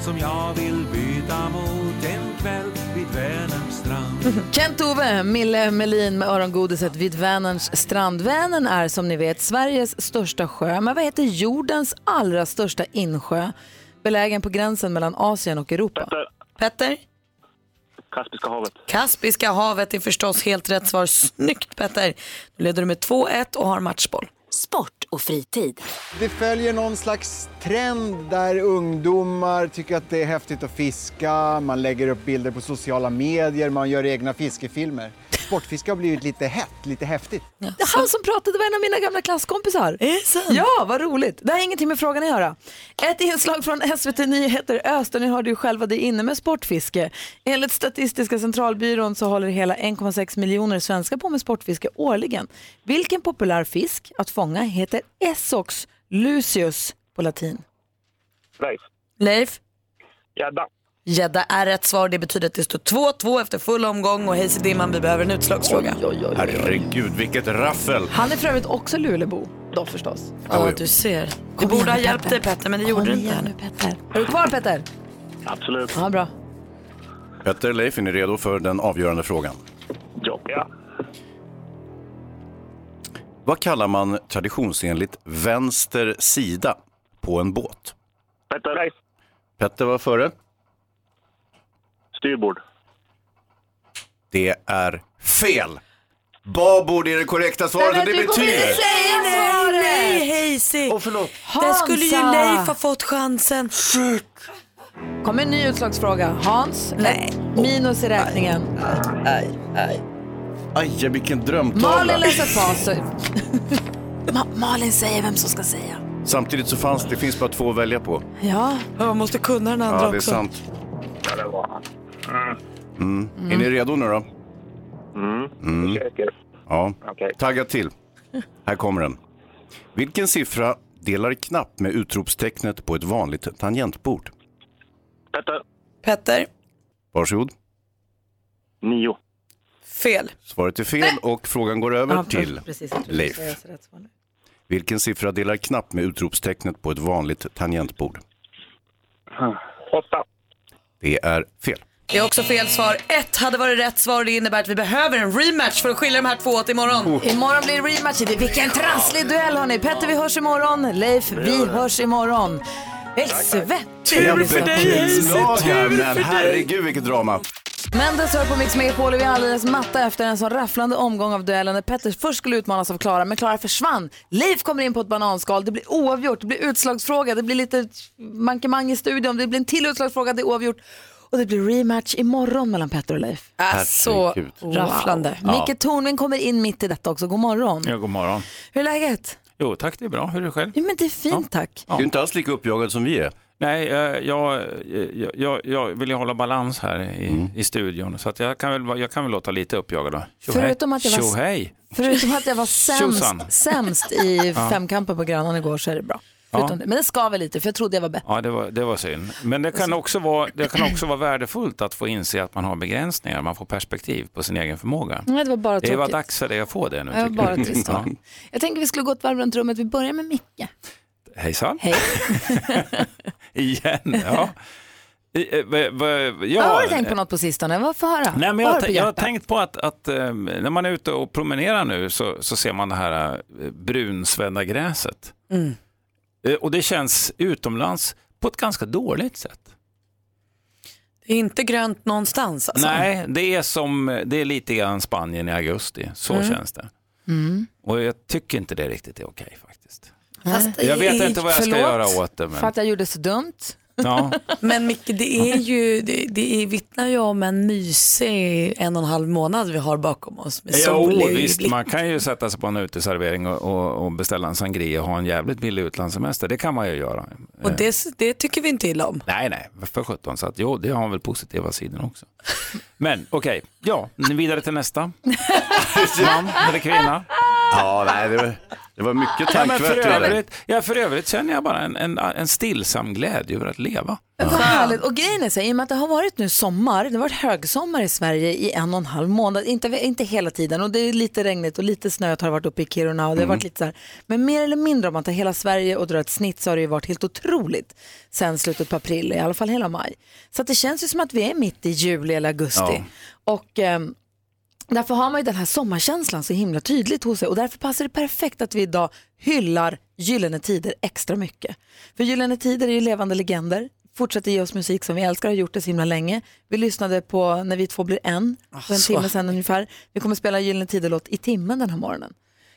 [SPEAKER 20] Som jag vill byta mot en kväll vid Vänerns strand
[SPEAKER 2] Kent-Ove Mille Melin med örongodiset vid Vänerns strand. Vänern är som ni vet Sveriges största sjö, men vad heter jordens allra största insjö? Belägen på gränsen mellan Asien och Europa.
[SPEAKER 4] Petter?
[SPEAKER 15] Kaspiska havet.
[SPEAKER 4] Kaspiska havet är förstås helt rätt svar. Snyggt Petter! Nu leder du med 2-1 och har matchboll.
[SPEAKER 8] Sport och fritid.
[SPEAKER 21] Det följer någon slags trend där ungdomar tycker att det är häftigt att fiska, man lägger upp bilder på sociala medier, man gör egna fiskefilmer. Sportfiske har blivit lite hett, lite häftigt.
[SPEAKER 2] Det är han som pratade var en av mina gamla klasskompisar. Ja, vad roligt. Det här har ingenting med frågan att göra. Ett inslag från SVT Nyheter Öst, och ni hörde ju själva det är inne med sportfiske. Enligt Statistiska centralbyrån så håller hela 1,6 miljoner svenskar på med sportfiske årligen. Vilken populär fisk att fånga heter Essox lucius på latin?
[SPEAKER 17] Leif.
[SPEAKER 4] Leif?
[SPEAKER 17] Gädda.
[SPEAKER 4] Gädda är rätt svar. Det betyder att det står 2-2 efter full omgång och hejs i dimman, vi behöver en utslagsfråga.
[SPEAKER 3] Herregud, vilket raffel.
[SPEAKER 2] Han är för övrigt också Lulebo, då förstås.
[SPEAKER 4] Ja, du ser. Du borde ha hjälpt dig Petter, men det gjorde du inte. nu.
[SPEAKER 2] Är du kvar Petter?
[SPEAKER 3] Absolut.
[SPEAKER 2] Ja, bra.
[SPEAKER 3] Petter Leif, är ni redo för den avgörande frågan? Ja. Vad kallar man traditionsenligt vänster sida på en båt?
[SPEAKER 15] Petter Leif.
[SPEAKER 3] Petter var före.
[SPEAKER 15] Styrbord.
[SPEAKER 3] Det är fel. Babord är det korrekta svaret och det betyder...
[SPEAKER 4] Nej, nej, nej, Hazy!
[SPEAKER 3] Oh, förlåt.
[SPEAKER 4] Där skulle ju
[SPEAKER 2] Hansa.
[SPEAKER 4] Leif ha fått chansen.
[SPEAKER 3] Shit.
[SPEAKER 2] Kommer en ny utslagsfråga. Hans, nej. minus i räkningen.
[SPEAKER 3] Aj, aj. Aj, vilken drömtavla.
[SPEAKER 2] Malin läser facit.
[SPEAKER 1] Ma- Malin säger vem som ska säga.
[SPEAKER 3] Samtidigt så fanns, det finns bara två att välja på.
[SPEAKER 2] Ja.
[SPEAKER 4] Man måste kunna den andra
[SPEAKER 3] Ja, det är
[SPEAKER 4] också.
[SPEAKER 3] sant.
[SPEAKER 15] Ja, det var han.
[SPEAKER 3] Mm.
[SPEAKER 4] Mm.
[SPEAKER 3] Är ni redo nu då? Mm. Ja. Tagga till. Här kommer den. Vilken siffra delar knapp med utropstecknet på ett vanligt tangentbord?
[SPEAKER 15] Petter.
[SPEAKER 4] Petter,
[SPEAKER 3] Varsågod. Nio.
[SPEAKER 4] fel.
[SPEAKER 3] Svaret är fel och frågan går över till Leif. Vilken siffra delar knapp med utropstecknet på ett vanligt tangentbord?
[SPEAKER 17] Åtta.
[SPEAKER 3] Det är fel.
[SPEAKER 4] Det är också fel svar. Ett hade varit rätt svar. Det innebär att vi behöver en rematch för att skilja de här två åt imorgon.
[SPEAKER 2] Oh. Imorgon blir det rematch. Det- Vilken trasslig duell hörni. Petter vi hörs imorgon. Leif vi hörs imorgon. Helvete.
[SPEAKER 3] Beklagar, men herregud vilket drama.
[SPEAKER 2] Mendes hör på Mix Megapol och vi är alldeles matta efter en sån rafflande omgång av duellen där Petter först skulle utmanas av Klara, men Klara försvann. Leif kommer in på ett bananskal, det blir oavgjort, det blir utslagsfråga, det blir lite mankemang i studion, det blir en till utslagsfråga, det är oavgjort. Och det blir rematch imorgon mellan Petter och Leif.
[SPEAKER 4] Äh, så Herregud. rafflande.
[SPEAKER 2] Wow.
[SPEAKER 4] Ja.
[SPEAKER 2] Micke Tornving kommer in mitt i detta också, god morgon.
[SPEAKER 18] Ja, god morgon.
[SPEAKER 2] Hur är läget?
[SPEAKER 18] Jo, tack, det är bra. Hur är det själv?
[SPEAKER 2] Jo men det är fint tack.
[SPEAKER 3] Du är inte alls lika uppjagad som vi är.
[SPEAKER 18] Nej, eh, jag, jag, jag, jag vill ju hålla balans här i,
[SPEAKER 3] Mm.
[SPEAKER 18] i studion, så att jag, kan väl, vara- jag kan väl låta lite uppjagad. då. Tjohej.
[SPEAKER 2] Förutom att jag var-
[SPEAKER 18] Tjohej.
[SPEAKER 2] Förutom att jag
[SPEAKER 18] *laughs*
[SPEAKER 2] var
[SPEAKER 18] Tjosan.
[SPEAKER 2] sämst, sämst i
[SPEAKER 18] *laughs* Ja.
[SPEAKER 2] femkampen på Grönan igår så är det bra.
[SPEAKER 18] Ja.
[SPEAKER 2] Förutom det. Men det skaver lite för jag trodde jag var bättre.
[SPEAKER 18] Ja, det var, det var synd. Men det
[SPEAKER 2] Alltså-
[SPEAKER 18] kan, också vara, det kan också vara värdefullt att få inse att man har begränsningar, man får perspektiv på sin egen förmåga.
[SPEAKER 2] Nej, det var bara
[SPEAKER 18] Det var
[SPEAKER 2] tråkigt.
[SPEAKER 18] dags för det, jag får det nu.
[SPEAKER 2] Det var
[SPEAKER 18] tycker
[SPEAKER 2] bara
[SPEAKER 18] jag.
[SPEAKER 2] trist.
[SPEAKER 18] Ja.
[SPEAKER 2] Jag tänker vi skulle gå ett varv runt rummet. Vi börjar med Micke.
[SPEAKER 18] Hejsan.
[SPEAKER 2] Hej.
[SPEAKER 18] *laughs* Igen, ja. I, eh, va- va- ja.
[SPEAKER 2] Ja, har du tänkt på något på sistone? Vad får jag höra?
[SPEAKER 18] Nej, men
[SPEAKER 2] Vad har du
[SPEAKER 18] jag, t-
[SPEAKER 2] på
[SPEAKER 18] jag har
[SPEAKER 2] hjärtat?
[SPEAKER 18] tänkt på att, att eh, när man är ute och promenerar nu så, så ser man det här eh, brunsvedda gräset.
[SPEAKER 4] Mm.
[SPEAKER 18] Eh, och det känns utomlands på ett ganska dåligt sätt.
[SPEAKER 4] Det är inte grönt någonstans alltså.
[SPEAKER 18] Nej, det är, som, det är lite grann Spanien i augusti. Så
[SPEAKER 4] Mm.
[SPEAKER 18] känns det.
[SPEAKER 2] Mm.
[SPEAKER 18] Och jag tycker inte det riktigt är okej. faktiskt.
[SPEAKER 2] Fast-
[SPEAKER 18] Jag vet inte vad jag ska
[SPEAKER 2] Förlåt
[SPEAKER 18] göra åt det.
[SPEAKER 2] För
[SPEAKER 18] Men,
[SPEAKER 2] att jag gjorde så dumt.
[SPEAKER 18] ja.
[SPEAKER 4] *laughs* Men Micke, det är ju, det, det är, vittnar ju om en mysig en och en halv månad vi har bakom oss med sol
[SPEAKER 18] Jo,
[SPEAKER 4] i
[SPEAKER 18] visst,
[SPEAKER 4] blick.
[SPEAKER 18] man kan ju sätta sig på en uteservering och, och, och beställa en sangria och ha en jävligt billig utlandssemester. Det kan man ju göra. Eh.
[SPEAKER 4] Och det, det tycker vi inte illa om.
[SPEAKER 18] Nej, nej, för sjutton. Så att, jo, det har väl positiva sidor också. Men okej, ja, nu vidare
[SPEAKER 4] *laughs*
[SPEAKER 18] till nästa. Man eller kvinna.
[SPEAKER 3] Ja, nej, det var, det var mycket
[SPEAKER 18] Ja, men för,
[SPEAKER 3] tankvärt i det där.
[SPEAKER 18] övrigt, ja, för övrigt känner jag bara en, en, en stillsam glädje över att leva.
[SPEAKER 2] Vad härligt. Och grejen är så här, i och med att det har varit nu sommar, det har varit högsommar i Sverige i en och en halv månad, inte, inte hela tiden och det är lite regnigt och lite snöigt har det varit uppe i Kiruna och det har
[SPEAKER 1] Mm.
[SPEAKER 2] varit lite så här. Men mer eller mindre om man tar hela Sverige och drar ett snitt så har det ju varit helt otroligt sen slutet på april, i alla fall hela maj. Så att det känns ju som att vi är mitt i juli eller augusti. Och ehm, Därför har man ju den här sommarkänslan så himla tydligt hos sig och därför passar det perfekt att vi idag hyllar Gyllene Tider extra mycket. För Gyllene Tider är ju levande legender, fortsätter ge oss musik som vi älskar och har gjort det så himla länge. Vi lyssnade på När vi två blir en, för en
[SPEAKER 4] så.
[SPEAKER 2] timme sedan ungefär. Vi kommer spela Gyllene Tider-låt i timmen den här morgonen.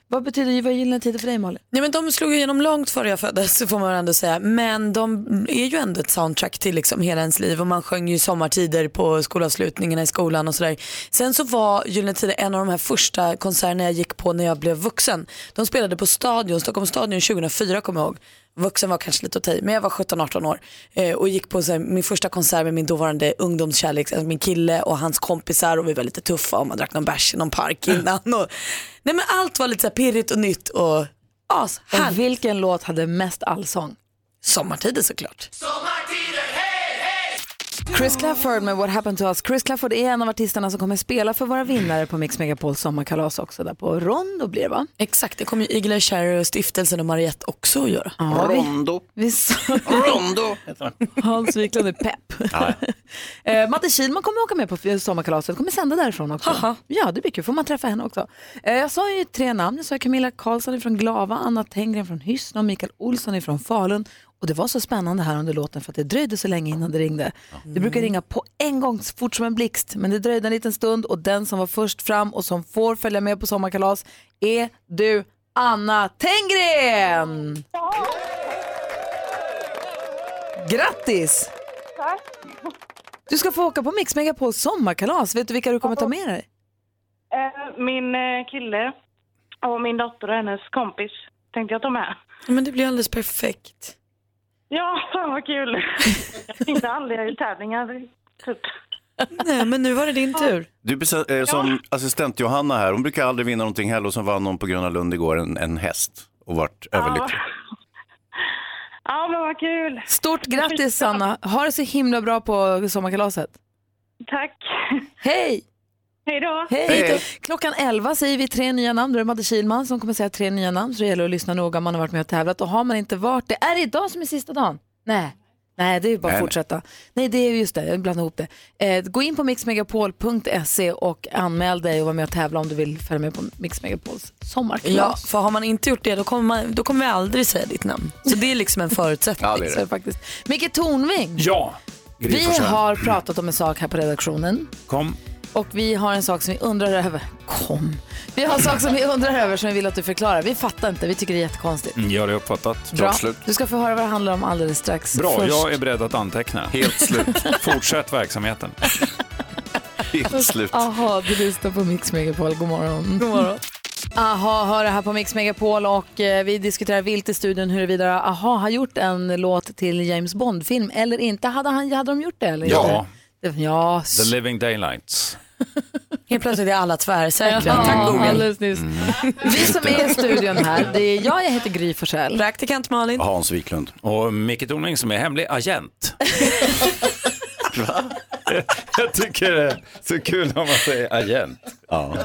[SPEAKER 2] Vad betyder vad är Gyllene Tider för dig Malin?
[SPEAKER 4] Nej, men de slog ju igenom långt före jag föddes så får man väl ändå säga. Men de är ju ändå ett soundtrack till liksom hela ens liv och man sjöng ju sommartider på skolavslutningarna i skolan och sådär. Sen så var Gyllene Tider en av de här första konserterna jag gick på när jag blev vuxen. De spelade på Stadion, Stockholms Stadion 2004 kommer jag ihåg. Vuxen var kanske lite att ta i, men jag var 17-18 år eh, och gick på så här, min första konsert med min dåvarande ungdomskärlek, alltså min kille och hans kompisar och vi var lite tuffa och man drack någon bärs i någon park innan. *laughs* Och, nej men allt var lite så här pirrigt och nytt och as,
[SPEAKER 2] Och vilken låt hade mest allsång?
[SPEAKER 4] Sommartider såklart.
[SPEAKER 2] Chris Clafford med What Happened To Us. Chris Clafford är en av artisterna som kommer spela för våra vinnare på Mix Megapols sommarkalas också där på Rondo blir det va?
[SPEAKER 4] Exakt, det kommer ju Igla Cherry och stiftelsen och Mariette också att göra.
[SPEAKER 2] Ja, vi- Vi sa...
[SPEAKER 4] Rondo.
[SPEAKER 2] *laughs* Hans Wiklund är pepp.
[SPEAKER 4] Ja,
[SPEAKER 2] Eh, Matte Kihlman kommer åka med på sommarkalaset, kommer sända därifrån också. Ja, det blir kul, får man träffa henne också. Eh, jag sa ju tre namn, jag sa Camilla Karlsson från Glava, Anna Tenggren från Hyssna och Mikael Olsson från Falun. Och det var så spännande här under låten för att det dröjde så länge innan det ringde. Det brukar ringa på en gång, så fort som en blixt, men det dröjde en liten stund och den som var först fram och som får följa med på sommarkalas är du, Anna Tenggren! Grattis!
[SPEAKER 5] Tack.
[SPEAKER 2] Du ska få åka på Mix Megapols sommarkalas. Vet du vilka du kommer ta med dig?
[SPEAKER 5] Eh, Min eh, kille och min dotter och hennes kompis tänkte jag ta med.
[SPEAKER 4] Men det blir alldeles perfekt.
[SPEAKER 22] *laughs*
[SPEAKER 5] Ja, fan vad kul! Inte aldrig i tävlingar, typ.
[SPEAKER 4] Nej, men nu var det din tur.
[SPEAKER 3] Du är precis, eh, som assistent Johanna här, hon brukar aldrig vinna någonting heller och så vann hon på Gröna Lund igår en, en häst och vart överlycklig.
[SPEAKER 5] Ja, men vad kul!
[SPEAKER 2] Stort grattis Sanna. Ha det så himla bra på sommarkalaset.
[SPEAKER 5] Tack!
[SPEAKER 2] Hej!
[SPEAKER 5] Hej då!
[SPEAKER 2] Hej! Klockan 11 säger vi tre nya namn. Då är det Madde Kihlman som kommer säga tre nya namn. Så det gäller att lyssna noga om man har varit med och tävlat. Och har man inte varit det, är det idag som är sista dagen? Nej. Nej, det är bara
[SPEAKER 1] Nej,
[SPEAKER 2] att
[SPEAKER 1] nej.
[SPEAKER 2] fortsätta. Nej, det är just det, jag blandade ihop det. Eh, gå in på mixmegapol.se och anmäl dig och var med och tävla om du vill följa med på Mix Megapols sommarkalas.
[SPEAKER 4] Ja, för har man inte gjort det då kommer, man, då kommer vi aldrig säga ditt namn. Så det är liksom en förutsättning.
[SPEAKER 2] Ja, det är det. Så är det faktiskt. Micke Tornving,
[SPEAKER 18] Ja.
[SPEAKER 2] vi har pratat om en sak här på redaktionen
[SPEAKER 18] Kom.
[SPEAKER 2] och vi har en sak som vi undrar över. Kom. Vi har en sak som vi undrar över som vi vill att du förklarar. Vi fattar inte, vi tycker det är jättekonstigt.
[SPEAKER 18] Mm, Ja, det har jag uppfattat.
[SPEAKER 2] Bra. Du ska få höra vad det handlar om alldeles strax.
[SPEAKER 18] Bra,
[SPEAKER 2] Först-
[SPEAKER 18] jag är beredd att anteckna. Helt slut. Fortsätt verksamheten. Helt
[SPEAKER 2] Aha, du lyssnar på Mix Megapol. God morgon.
[SPEAKER 4] God morgon.
[SPEAKER 2] Aha, hör det här på Mix Megapol och eh, vi diskuterar vilt i studion huruvida Aha har gjort en låt till James Bond-film eller inte. Hade, han, hade de gjort det eller
[SPEAKER 18] Ja.
[SPEAKER 2] inte? Det- Ja. s-
[SPEAKER 18] The Living Daylights.
[SPEAKER 4] *laughs* Helt plötsligt är alla tvärsäkra.
[SPEAKER 2] Ja,
[SPEAKER 4] Tack Google.
[SPEAKER 2] alldeles nyss. Vi som är i studion här, det är jag, jag heter Gry Forssell.
[SPEAKER 4] Praktikant Malin.
[SPEAKER 18] Hans Wiklund. Och Micke Tornving som är hemlig agent. *laughs* Va? Jag tycker det är så kul när man säger agent. Ja.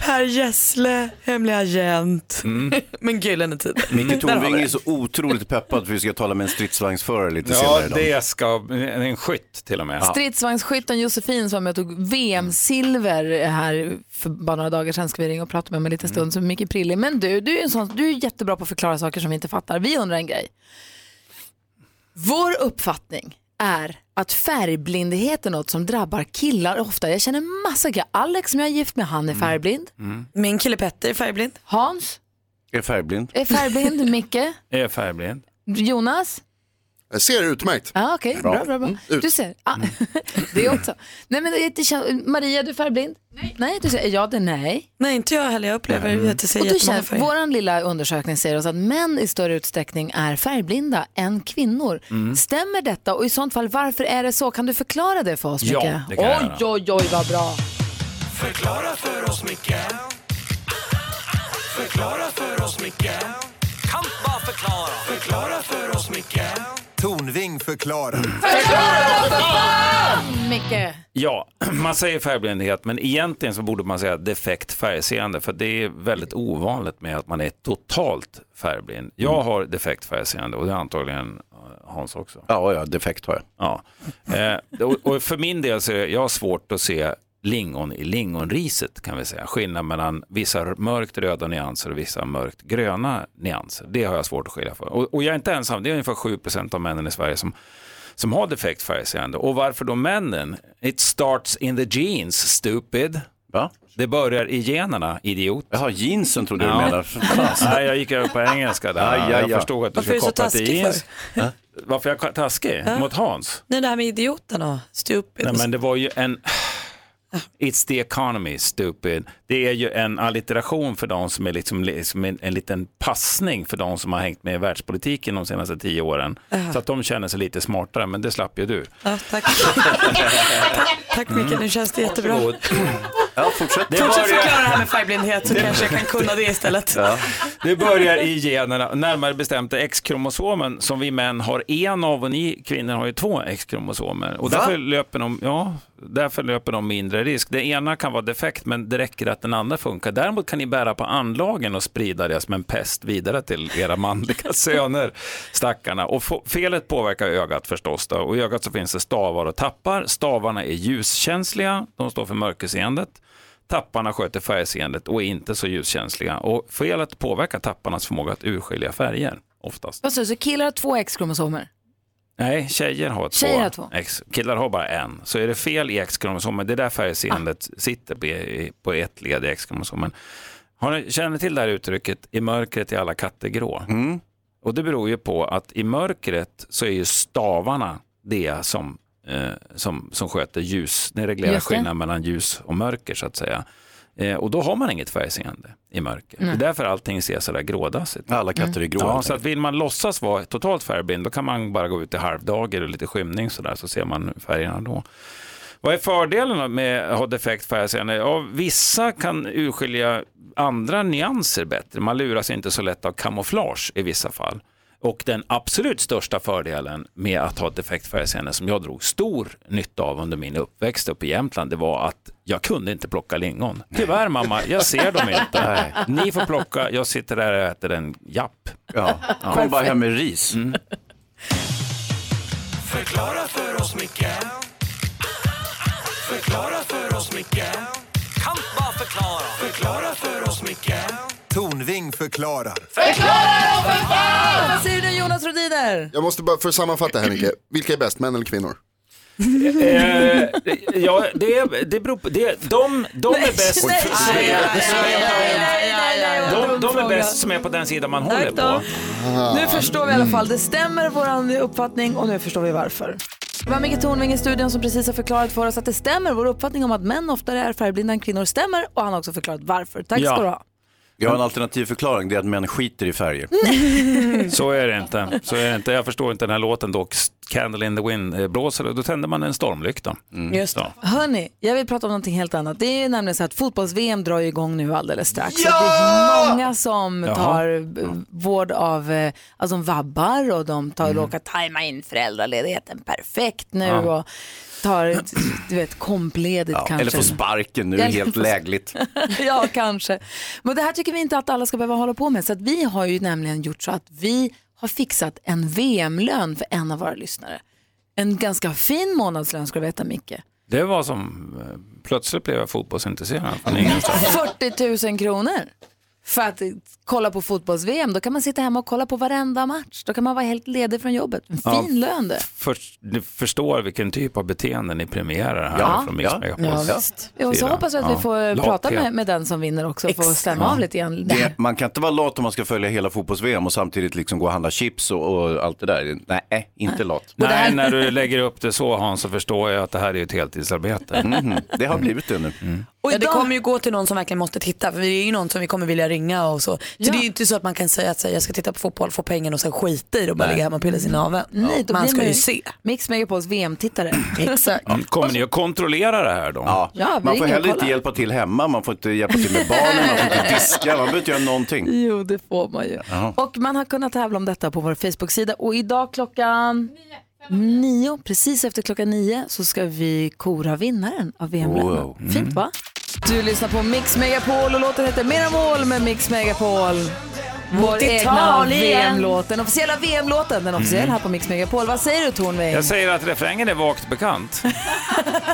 [SPEAKER 4] Per Gessle, hemlig agent.
[SPEAKER 18] Mm.
[SPEAKER 4] *laughs* Men gyllene tid.
[SPEAKER 3] Micke
[SPEAKER 4] Där har vi
[SPEAKER 3] Tornving
[SPEAKER 4] det.
[SPEAKER 3] är så otroligt peppad för att vi ska tala med en stridsvagnsförare lite
[SPEAKER 18] Ja,
[SPEAKER 3] senare idag.
[SPEAKER 18] det ska, en skytt till och med.
[SPEAKER 2] Stridsvagnsskytten Josefin som var med och tog VM-silver här för bara några dagar sedan ska vi ringa och prata med om en liten stund. Så mycket prillig. Men du, du är, en sån, du är jättebra på att förklara saker som vi inte fattar. Vi undrar en grej. Vår uppfattning är att färgblindhet är något som drabbar killar ofta. Jag känner massa killar. Alex som jag är gift med, han är färgblind.
[SPEAKER 18] Mm.
[SPEAKER 4] Min kille Petter är färgblind.
[SPEAKER 2] Hans
[SPEAKER 3] Är färgblind?
[SPEAKER 4] *laughs*
[SPEAKER 2] är färgblind. Micke?
[SPEAKER 18] Är jag färgblind?
[SPEAKER 2] Jonas?
[SPEAKER 7] Jag ser utmärkt.
[SPEAKER 2] Ja, okej.
[SPEAKER 7] Bra.
[SPEAKER 2] Bra, bra, bra.
[SPEAKER 7] Mm, ut.
[SPEAKER 2] Du ser. Ah, *laughs* det också. Nej, men det, det känns, Maria, du är färgblind? Nej. Nej, du säger ja, det nej.
[SPEAKER 4] Nej, inte jag heller. Jag upplever att jag ser
[SPEAKER 2] Och du
[SPEAKER 4] jättemånga
[SPEAKER 2] känner,
[SPEAKER 4] färger.
[SPEAKER 2] vår lilla undersökning säger oss att män i större utsträckning är färgblinda än kvinnor.
[SPEAKER 1] Mm.
[SPEAKER 2] Stämmer detta? Och i sånt fall, varför är det så? Kan du förklara det för oss,
[SPEAKER 1] Ja,
[SPEAKER 2] Micke?
[SPEAKER 1] det kan jag
[SPEAKER 2] Oj, oj, oj, vad bra.
[SPEAKER 20] Förklara för oss, Micke Förklara för oss, Micke Kan bara förklara Förklara för oss, Micke
[SPEAKER 9] Tornving förklarar.
[SPEAKER 2] Micke.
[SPEAKER 18] Ja, *clears throat* man säger färgblindhet, men egentligen så borde man säga defekt färgseende, för det är väldigt ovanligt med att man är totalt färgblind.
[SPEAKER 3] Mm.
[SPEAKER 18] Jag har defekt färgseende och det är antagligen eh, Hans också.
[SPEAKER 3] Ja, ja defekt har jag.
[SPEAKER 18] Ja. Eh, och, och för min del så är jag har svårt att se lingon i lingonriset kan vi säga. Skillnad mellan vissa mörkt röda nyanser och vissa mörkt gröna nyanser. Det har jag svårt att skilja för. Och, och jag är inte ensam, det är ungefär 7 av männen i Sverige som, som har defekt färgseende. Och varför då männen? It starts in the genes, stupid.
[SPEAKER 3] Va?
[SPEAKER 18] Det börjar i generna, idiot.
[SPEAKER 3] Jaha, jeansen trodde du
[SPEAKER 18] *laughs*
[SPEAKER 3] menade.
[SPEAKER 18] Nej, jag gick över på engelska där.
[SPEAKER 3] Aj, aj, aj.
[SPEAKER 18] Jag förstod att du
[SPEAKER 3] Varför är du
[SPEAKER 18] skulle
[SPEAKER 3] så
[SPEAKER 18] koppla till
[SPEAKER 3] taskig
[SPEAKER 18] jeans.
[SPEAKER 3] för?
[SPEAKER 18] Äh? Varför är jag taskig?
[SPEAKER 4] Ja.
[SPEAKER 18] Mot Hans?
[SPEAKER 4] Nej, det här med idioten och stupid.
[SPEAKER 18] Nej, men det var ju en... It's the economy, stupid. Det är ju en allitteration för de som är liksom, liksom en, en liten passning för de som har hängt med i världspolitiken de senaste tio åren.
[SPEAKER 4] Ja.
[SPEAKER 18] Så att de känner sig lite smartare, men det slapp ju du.
[SPEAKER 4] Ja, tack. tack mycket, nu känns det
[SPEAKER 18] Mm.
[SPEAKER 4] jättebra.
[SPEAKER 18] Ja, fortsätt.
[SPEAKER 4] Fortsätt förklara det här med färgblindhet så kanske jag kan kunna det istället.
[SPEAKER 3] Ja.
[SPEAKER 18] Det börjar i generna, närmare bestämt det X-kromosomen som vi män har en av och ni kvinnor har ju två X-kromosomer. Och
[SPEAKER 22] Va?
[SPEAKER 18] därför löper, de, ja, därför löper de mindre risk. Det ena kan vara defekt men det räcker att den andra funkar. Däremot kan ni bära på anlagen och sprida det som en pest vidare till era manliga *laughs* söner, stackarna. Och få- felet påverkar ögat förstås. Då. Och i ögat så finns det stavar och tappar. Stavarna är ljuskänsliga, de står för mörkerseendet. Tapparna sköter färgseendet och är inte så ljuskänsliga. Och felet påverkar tapparnas förmåga att urskilja färger oftast.
[SPEAKER 2] Vad sa du, så killar har två X-kromosomer?
[SPEAKER 18] Nej, tjejer har två.
[SPEAKER 2] Tjejer har två.
[SPEAKER 18] X. Killar har bara en. Så är det fel i X-kromosomen, det är där färgseendet sitter på, i- på ett led i X-kromosomen. Har ni, känner ni till det här uttrycket, i mörkret är alla katter grå? Och det beror ju på att i mörkret så är ju stavarna det som, eh, som, som sköter ljus, det reglerar
[SPEAKER 22] Just det.
[SPEAKER 18] skillnaden mellan ljus och mörker så att säga. Eh, och då har man inget färgseende i mörker.
[SPEAKER 22] Nej.
[SPEAKER 18] Det är därför allting ser sådär grådassigt. Alla
[SPEAKER 22] katter är Mm. grå,
[SPEAKER 18] Ja,
[SPEAKER 22] helt
[SPEAKER 18] så att vill man låtsas vara totalt färgblind då kan man bara gå ut i halvdager och lite skymning sådär så ser man färgerna då. Vad är fördelen med att ha defekt färgseende? Ja, vissa kan urskilja andra nyanser bättre. Man luras inte så lätt av kamouflage i vissa fall. Och den absolut största fördelen med att ha ett defekt färgseende som jag drog stor nytta av under min uppväxt uppe i Jämtland, det var att jag kunde inte plocka lingon. Tyvärr mamma, jag ser dem *laughs* inte. Ni får plocka, jag sitter där och äter en japp. Ja.
[SPEAKER 3] Kom bara hem
[SPEAKER 18] med ris. Mm.
[SPEAKER 20] Förklara för oss, Micke Förklara för oss, Micke Kan bara förklara Förklara för oss, Micke
[SPEAKER 9] Tornving förklarar.
[SPEAKER 2] Förklara för fan! Vad säger du Jonas Rodiner?
[SPEAKER 7] Jag måste bara för att sammanfatta här Micke. Vilka är bäst, män eller kvinnor?
[SPEAKER 18] Eh, ja, det, det beror på. Det, de, de är bäst.
[SPEAKER 22] Nej, nej,
[SPEAKER 18] De, de är bäst som är på den sidan man håller på.
[SPEAKER 22] Ah.
[SPEAKER 2] Nu förstår vi i alla fall, det stämmer vår uppfattning och nu förstår vi varför. Det var Micke Tornving i studion som precis har förklarat för oss att det stämmer, vår uppfattning om att män oftare är färgblinda än kvinnor stämmer och han har också förklarat varför. Tack
[SPEAKER 3] Ja.
[SPEAKER 2] ska du ha.
[SPEAKER 3] Jag har en alternativ förklaring, det är att män skiter
[SPEAKER 22] *laughs*
[SPEAKER 3] i färger.
[SPEAKER 18] Så är det inte. Så är det inte. Jag förstår inte den här låten dock. Candle in the wind eh, blåser och då tänder man en stormlykta.
[SPEAKER 2] Just
[SPEAKER 18] det.
[SPEAKER 2] Hörni, jag vill prata om någonting helt annat. Det är ju nämligen så att fotbolls-VM drar ju igång nu alldeles strax.
[SPEAKER 22] Ja!
[SPEAKER 2] Och Det är många som
[SPEAKER 22] Jaha.
[SPEAKER 2] tar b- vård av, eh, alltså de vabbar och de tar råkar tajma in föräldraledigheten perfekt nu
[SPEAKER 3] Mm. Ja.
[SPEAKER 2] och tar, du vet, kompledigt kanske.
[SPEAKER 3] Eller får sparken nu,
[SPEAKER 2] Eller
[SPEAKER 3] helt
[SPEAKER 2] får-
[SPEAKER 3] lägligt.
[SPEAKER 2] *laughs* ja, kanske. Men det här tycker vi inte att alla ska behöva hålla på med. Så att vi har ju nämligen gjort så att vi har fixat en VM-lön för en av våra lyssnare. En ganska fin månadslön ska du veta Micke.
[SPEAKER 18] Det var som, eh, plötsligt blev jag fotbollsintresserad från ingenstans.
[SPEAKER 2] 40 000 kronor för att kolla på fotbolls-VM. Då kan man sitta hemma och kolla på varenda match. Då kan man vara helt ledig från jobbet. En fin
[SPEAKER 18] Ja.
[SPEAKER 2] lön det.
[SPEAKER 18] För, du förstår vilken typ av beteende ni premierar här
[SPEAKER 2] Ja.
[SPEAKER 18] från Mix
[SPEAKER 2] Ja.
[SPEAKER 18] Megapols
[SPEAKER 2] Ja, visst. Och så hoppas jag att vi
[SPEAKER 3] Ja.
[SPEAKER 2] får
[SPEAKER 3] Lathet.
[SPEAKER 2] prata med, med den som vinner också och få stämma av lite igen.
[SPEAKER 3] Det, man kan inte vara lat om man ska följa hela fotbolls-VM och samtidigt liksom gå och handla chips och, och allt det där. Nej, inte lat.
[SPEAKER 2] *laughs*
[SPEAKER 18] Nej, när du lägger upp det så Hans så förstår jag att det här är ett heltidsarbete.
[SPEAKER 3] Mhm, det har blivit det nu.
[SPEAKER 4] Och det kommer ju gå till någon som verkligen måste titta för det är ju någon som vi kommer vilja ringa och så. Så det är ju inte så att man kan säga att så här, jag ska titta på fotboll, få pengen och sen skita i det och bara
[SPEAKER 18] Nej.
[SPEAKER 4] ligga hemma och pilla sig i naveln.
[SPEAKER 2] Nej, då
[SPEAKER 4] Man
[SPEAKER 2] blir
[SPEAKER 4] ska ju
[SPEAKER 2] ju
[SPEAKER 4] se.
[SPEAKER 2] Mix Megapols VM-tittare. Exakt.
[SPEAKER 18] Mm. Kommer ni att kontrollera det här då?
[SPEAKER 2] Ja, vi
[SPEAKER 3] man
[SPEAKER 2] ringer
[SPEAKER 3] får
[SPEAKER 2] och
[SPEAKER 3] heller inte
[SPEAKER 2] kollar.
[SPEAKER 3] hjälpa till hemma, man får inte hjälpa till med barnen, man får
[SPEAKER 2] *laughs*
[SPEAKER 3] inte diska, man behöver inte göra någonting.
[SPEAKER 2] Jo, det får man ju.
[SPEAKER 3] Jaha.
[SPEAKER 2] Och man har kunnat tävla om detta på vår Facebook-sida. Och idag klockan nio, precis efter klockan nio, så ska vi kora vinnaren av vm
[SPEAKER 22] Wow.
[SPEAKER 3] Mm.
[SPEAKER 2] wow. Fint va? Mm. Du lyssnar på Mix Megapol och låten heter Mera mål med Mix Megapol. Vår egna
[SPEAKER 22] Italien.
[SPEAKER 2] VM-låten, den officiella VM-låten, den officiella
[SPEAKER 18] Mm.
[SPEAKER 2] här på Mix Megapol. Vad säger du Tornving?
[SPEAKER 18] Jag säger att refrängen är vagt bekant.
[SPEAKER 3] *laughs*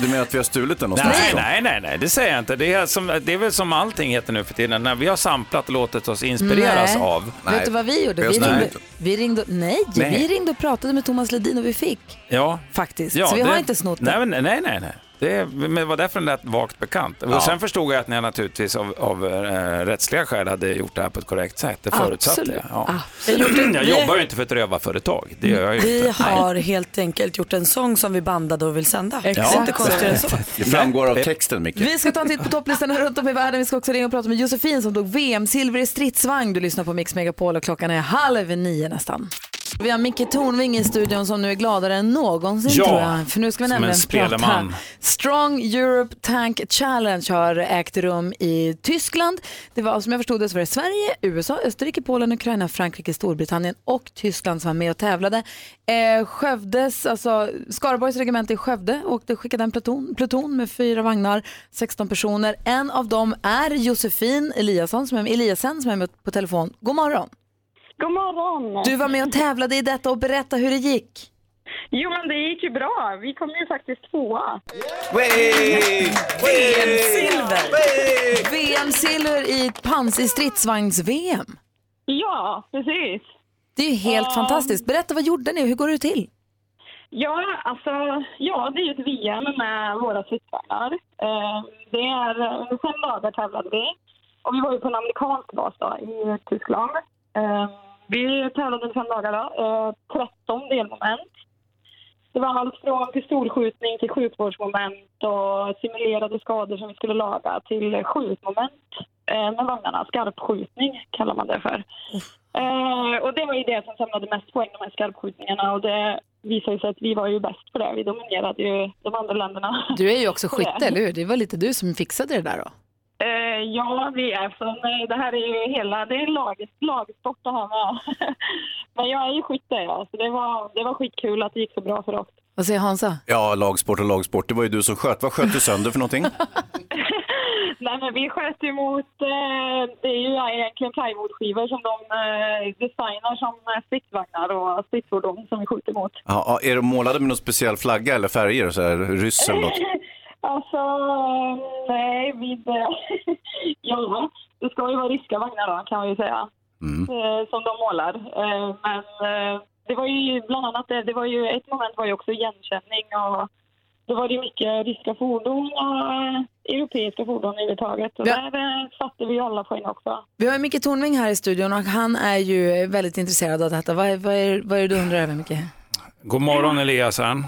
[SPEAKER 3] Du menar att vi har stulit den någonstans?
[SPEAKER 18] Nej,
[SPEAKER 3] ifrån?
[SPEAKER 18] nej, nej, nej, det säger jag inte. Det är, som, det är väl som allting heter nu för tiden, när vi har samplat och låtit oss inspireras
[SPEAKER 2] Nej.
[SPEAKER 18] av.
[SPEAKER 2] Vet du vad vi gjorde?
[SPEAKER 18] Jag
[SPEAKER 2] Vi
[SPEAKER 18] snurrar
[SPEAKER 2] ringde,
[SPEAKER 18] inte.
[SPEAKER 2] vi ringde, nej,
[SPEAKER 18] Nej.
[SPEAKER 2] vi ringde och pratade med Thomas Ledin och vi fick.
[SPEAKER 18] Ja.
[SPEAKER 2] Faktiskt. Så vi har inte snott
[SPEAKER 18] nej,
[SPEAKER 2] det.
[SPEAKER 18] men- Nej, nej, nej. Det är- men det var därför den lät vagt bekant.
[SPEAKER 22] Ja.
[SPEAKER 18] Och sen förstod jag att ni naturligtvis av, av eh, rättsliga skäl hade gjort det här på ett korrekt sätt. Det förutsatte
[SPEAKER 4] Absolut.
[SPEAKER 18] jag. Ja. *clears throat* Jag jobbar ju inte för ett rövarföretag. Det gör jag ju inte.
[SPEAKER 4] Vi har helt enkelt gjort en sång som vi bandade och vill sända. Det är inte konstigare än så.
[SPEAKER 3] *laughs* Det framgår av texten, Micke.
[SPEAKER 2] Vi ska ta en titt
[SPEAKER 3] *laughs*
[SPEAKER 2] på topplistorna runt om i världen. Vi ska också ringa och prata med Josefin som tog VM-silver i stridsvagn. Du lyssnar på Mix Megapol och klockan är halv nio nästan. Vi har Micke Tornving i studion som nu är gladare än någonsin
[SPEAKER 18] Ja,
[SPEAKER 2] tror jag. För nu ska vi
[SPEAKER 18] som en
[SPEAKER 2] nämligen prata.
[SPEAKER 18] speleman.
[SPEAKER 2] Strong Europe Tank Challenge har ägt rum i Tyskland. Det var, som jag förstod det så var det Sverige, USA, Österrike, Polen, Ukraina, Frankrike, Storbritannien och Tyskland som var med och tävlade. Eh, Skövdes, alltså Skaraborgs regemente i Skövde åkte, skickade en pluton, pluton med fyra vagnar, 16 personer. En av dem är Josefin Eliasson som är, Eliasen som är med på telefon. God morgon!
[SPEAKER 22] God morgon!
[SPEAKER 2] Du var med och tävlade i detta och berätta hur det gick.
[SPEAKER 22] Jo, men det gick ju bra. Vi kom ju faktiskt tvåa.
[SPEAKER 2] VM-silver! VM-silver i pans i stridsvagns-VM.
[SPEAKER 22] Ja, precis.
[SPEAKER 2] Det är ju helt
[SPEAKER 22] Ja.
[SPEAKER 2] fantastiskt. Berätta, vad gjorde ni? Hur går det till?
[SPEAKER 22] Ja, alltså, ja, det är ju ett VM med våra stridsvagnar. Eh, det är under fem dagar tävlade vi. Och vi var ju på en amerikansk bas då, i Tyskland. Eh, vi tävlade under fem dagar då, eh, 13 delmoment. Det var allt från pistolskjutning till sjukvårdsmoment och simulerade skador som vi skulle laga till skjutmoment eh, med vagnarna. Skarpskjutning kallar man det för. Eh, och det var ju det som samlade mest poäng, de här skarpskjutningarna. Och det visade ju sig att vi var ju bäst på det. Vi dominerade ju de andra länderna.
[SPEAKER 2] Du är ju också
[SPEAKER 22] på det.
[SPEAKER 2] skytte, eller hur? Det var lite du som fixade det där då.
[SPEAKER 22] Eh, ja, vi är från... eh, Det här är ju hela... Det är en lag, lagsport det här med. *laughs* Men jag är ju skytte, ja. Så det var, det var skitkul att det gick så bra för oss.
[SPEAKER 2] Vad säger Hansa?
[SPEAKER 3] Ja, lagsport och lagsport. Det var ju du som sköt. Vad sköt du sönder för någonting?
[SPEAKER 22] Nej, men vi sköt emot... Eh, det är ju egentligen plywoodskivor som de eh, designar som eh, stridsvagnar och stridsfordon som vi skjuter mot.
[SPEAKER 3] Ja, ja, är de målade med någon speciell flagga eller färger? Så här, ryss eller något?
[SPEAKER 22] *laughs* Alltså, nej, vi... *laughs* ja, det ska ju vara ryska vagnar då, kan man ju säga.
[SPEAKER 18] Mm.
[SPEAKER 22] Eh, Som de målar. Eh, Men eh, det var ju bland annat det, det var ju, ett moment var ju också igenkänning och då var det ju mycket ryska fordon och eh, europeiska fordon överhuvudtaget. Och där eh, satte vi alla poäng också. *laughs*
[SPEAKER 2] Vi har ju Micke Tornving här i studion och han är ju väldigt intresserad av detta. Vad, är- vad, är, vad är det du undrar över, Micke?
[SPEAKER 18] God morgon Eliasen.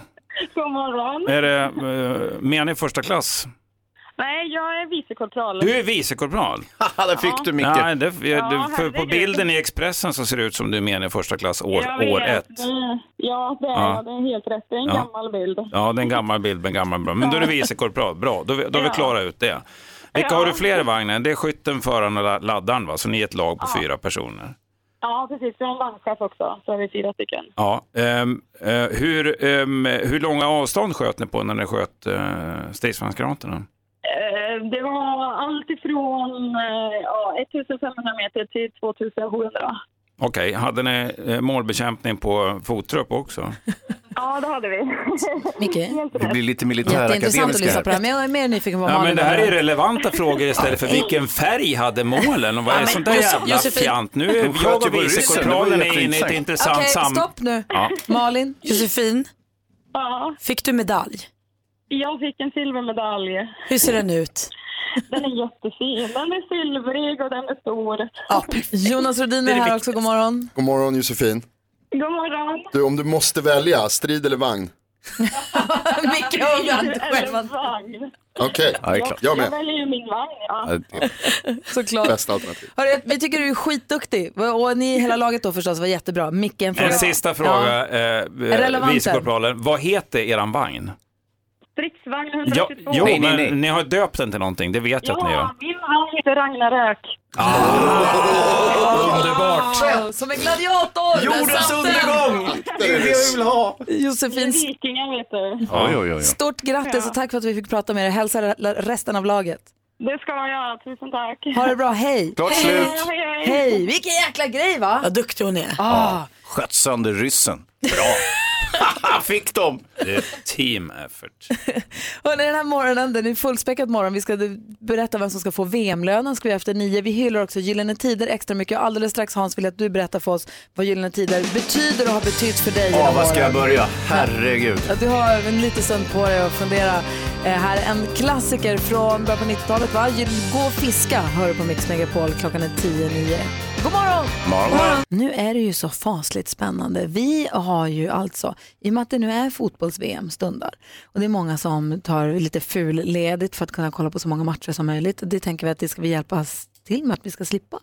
[SPEAKER 22] God morgon!
[SPEAKER 18] Är det eh, menig första klass?
[SPEAKER 22] Nej, jag är vicekorpral.
[SPEAKER 18] Du
[SPEAKER 3] *laughs*
[SPEAKER 18] är vicekorpral.
[SPEAKER 3] Där fick du Micke.
[SPEAKER 18] Nej, det, det,
[SPEAKER 22] Ja,
[SPEAKER 18] för på
[SPEAKER 22] herregud.
[SPEAKER 18] bilden i Expressen så ser det ut som du är menig första klass år,
[SPEAKER 22] Jag vet,
[SPEAKER 18] år ett.
[SPEAKER 22] det- Ja, det är
[SPEAKER 18] Ja.
[SPEAKER 22] jag. Det är helt rätt. Det är en
[SPEAKER 18] Ja.
[SPEAKER 22] gammal bild.
[SPEAKER 18] Ja, det är en gammal bild med en gammal bra. Men då är det vicekorpral. Bra, då, då har vi
[SPEAKER 22] Ja.
[SPEAKER 18] klarat ut det. Vilka har du fler i vagnen? Det är skytten, föraren och la- laddaren va? Så ni är ett lag på fyra personer.
[SPEAKER 22] Ja, precis. Vi har en vagnchef också, så är vi fyra stycken.
[SPEAKER 18] Ja, ehm, eh, hur, ehm, hur långa avstånd sköt ni på när ni sköt uh, stridsvagnsgranaterna?
[SPEAKER 22] Eh, Det var allt ifrån eh, ja, 1500 meter till 2700.
[SPEAKER 18] Okej, hade ni eh, målbekämpning på fottrupp också?
[SPEAKER 22] Ja, det hade vi. *laughs*
[SPEAKER 2] Micke?
[SPEAKER 3] Det blir
[SPEAKER 2] Jätteintressant
[SPEAKER 3] lite
[SPEAKER 2] att
[SPEAKER 18] militärakademiska
[SPEAKER 2] lyssna
[SPEAKER 18] här.
[SPEAKER 2] på det här, men jag är mer nyfiken på vad
[SPEAKER 18] Ja, men
[SPEAKER 2] Malin
[SPEAKER 18] det här
[SPEAKER 2] undrar.
[SPEAKER 18] är relevanta frågor istället för vilken färg hade målen och vad
[SPEAKER 2] Ja,
[SPEAKER 18] är
[SPEAKER 2] men
[SPEAKER 18] sånt där
[SPEAKER 2] Jose-
[SPEAKER 18] jävla
[SPEAKER 2] Josefin-
[SPEAKER 18] fjant. Nu är
[SPEAKER 3] De sköt
[SPEAKER 18] jag
[SPEAKER 3] ju
[SPEAKER 18] och
[SPEAKER 3] på ryssen, det
[SPEAKER 18] vicekorpralen
[SPEAKER 3] var ju
[SPEAKER 18] är inne i ett
[SPEAKER 3] jätteintressant.
[SPEAKER 18] intressant
[SPEAKER 2] Okej,
[SPEAKER 18] sam...
[SPEAKER 2] stopp nu.
[SPEAKER 18] Ja.
[SPEAKER 2] Malin?
[SPEAKER 4] Josefin,
[SPEAKER 22] Ja,
[SPEAKER 4] fick du medalj?
[SPEAKER 22] jag fick en silvermedalj.
[SPEAKER 4] Hur ser den ut?
[SPEAKER 22] Den är jättefin. Den är silvrig och den är stor.
[SPEAKER 2] Jonas Rhodin är här också, god morgon.
[SPEAKER 7] God morgon Josefin.
[SPEAKER 2] *laughs*
[SPEAKER 22] God morgon!
[SPEAKER 7] Du, om du måste välja, strid eller vagn?
[SPEAKER 2] Micke
[SPEAKER 22] har
[SPEAKER 2] inte själv
[SPEAKER 22] en vagn.
[SPEAKER 7] Okej, jag
[SPEAKER 22] Jag
[SPEAKER 7] med.
[SPEAKER 22] väljer ju min vagn. Ja.
[SPEAKER 2] Såklart.
[SPEAKER 7] Bästa alternativ.
[SPEAKER 2] Hörru, vi tycker du är skitduktig och ni i hela laget då förstås var jättebra. Micke, en fråga.
[SPEAKER 18] En sista fråga, eh,
[SPEAKER 2] Relevant
[SPEAKER 18] vicekorpralen. Vad heter eran vagn?
[SPEAKER 22] Stridsvagn
[SPEAKER 18] Ja,
[SPEAKER 22] 122.
[SPEAKER 18] jo, men ni har döpt den till någonting, det vet jag att ni gör.
[SPEAKER 22] Ja, min vagn heter Ragnarök.
[SPEAKER 18] Underbart!
[SPEAKER 2] Ah! Som en gladiator!
[SPEAKER 22] Jordens undergång!
[SPEAKER 2] Det är det vi vill
[SPEAKER 3] ha!
[SPEAKER 2] Josefin.
[SPEAKER 22] Vikingar vet du.
[SPEAKER 3] Oj, oj, oj, oj.
[SPEAKER 2] Stort grattis och tack för att vi fick prata med er. Hälsa re- resten av laget.
[SPEAKER 22] Det ska jag göra. Tusen tack.
[SPEAKER 2] Ha det bra, hej!
[SPEAKER 3] Klart
[SPEAKER 2] hej.
[SPEAKER 3] slut.
[SPEAKER 22] Hej, hej.
[SPEAKER 2] Hej, vilken jäkla grej va?
[SPEAKER 4] Vad duktig hon är.
[SPEAKER 2] Ah.
[SPEAKER 3] Sköt sönder ryssen.
[SPEAKER 2] *laughs*
[SPEAKER 3] Bra. *laughs* Fick dem.
[SPEAKER 18] Team effort.
[SPEAKER 2] Hörrni, den här morgonen, den är fullspäckad morgon. Vi ska berätta vem som ska få VM-lönen ska vi göra efter nio. Vi hyllar också Gyllene Tider extra mycket och alldeles strax Hans vill jag att du berättar för oss vad Gyllene Tider betyder och har betytt för dig.
[SPEAKER 3] Ja,
[SPEAKER 2] genom
[SPEAKER 3] var ska jag
[SPEAKER 2] åren.
[SPEAKER 3] börja? Herregud.
[SPEAKER 2] Ja, du har en liten stund på dig att fundera. Eh, här är en klassiker från början på 90-talet va? Gyll- Gå och fiska hör du på Mix Megapol klockan är tio, nio. God morgon! Nu är det ju så fasligt spännande. Vi har ju alltså, i och med att det nu är fotbolls-VM stundar och det är många som tar lite fulledigt för att kunna kolla på så många matcher som möjligt. Det tänker vi att det ska vi hjälpas till med att vi ska slippa.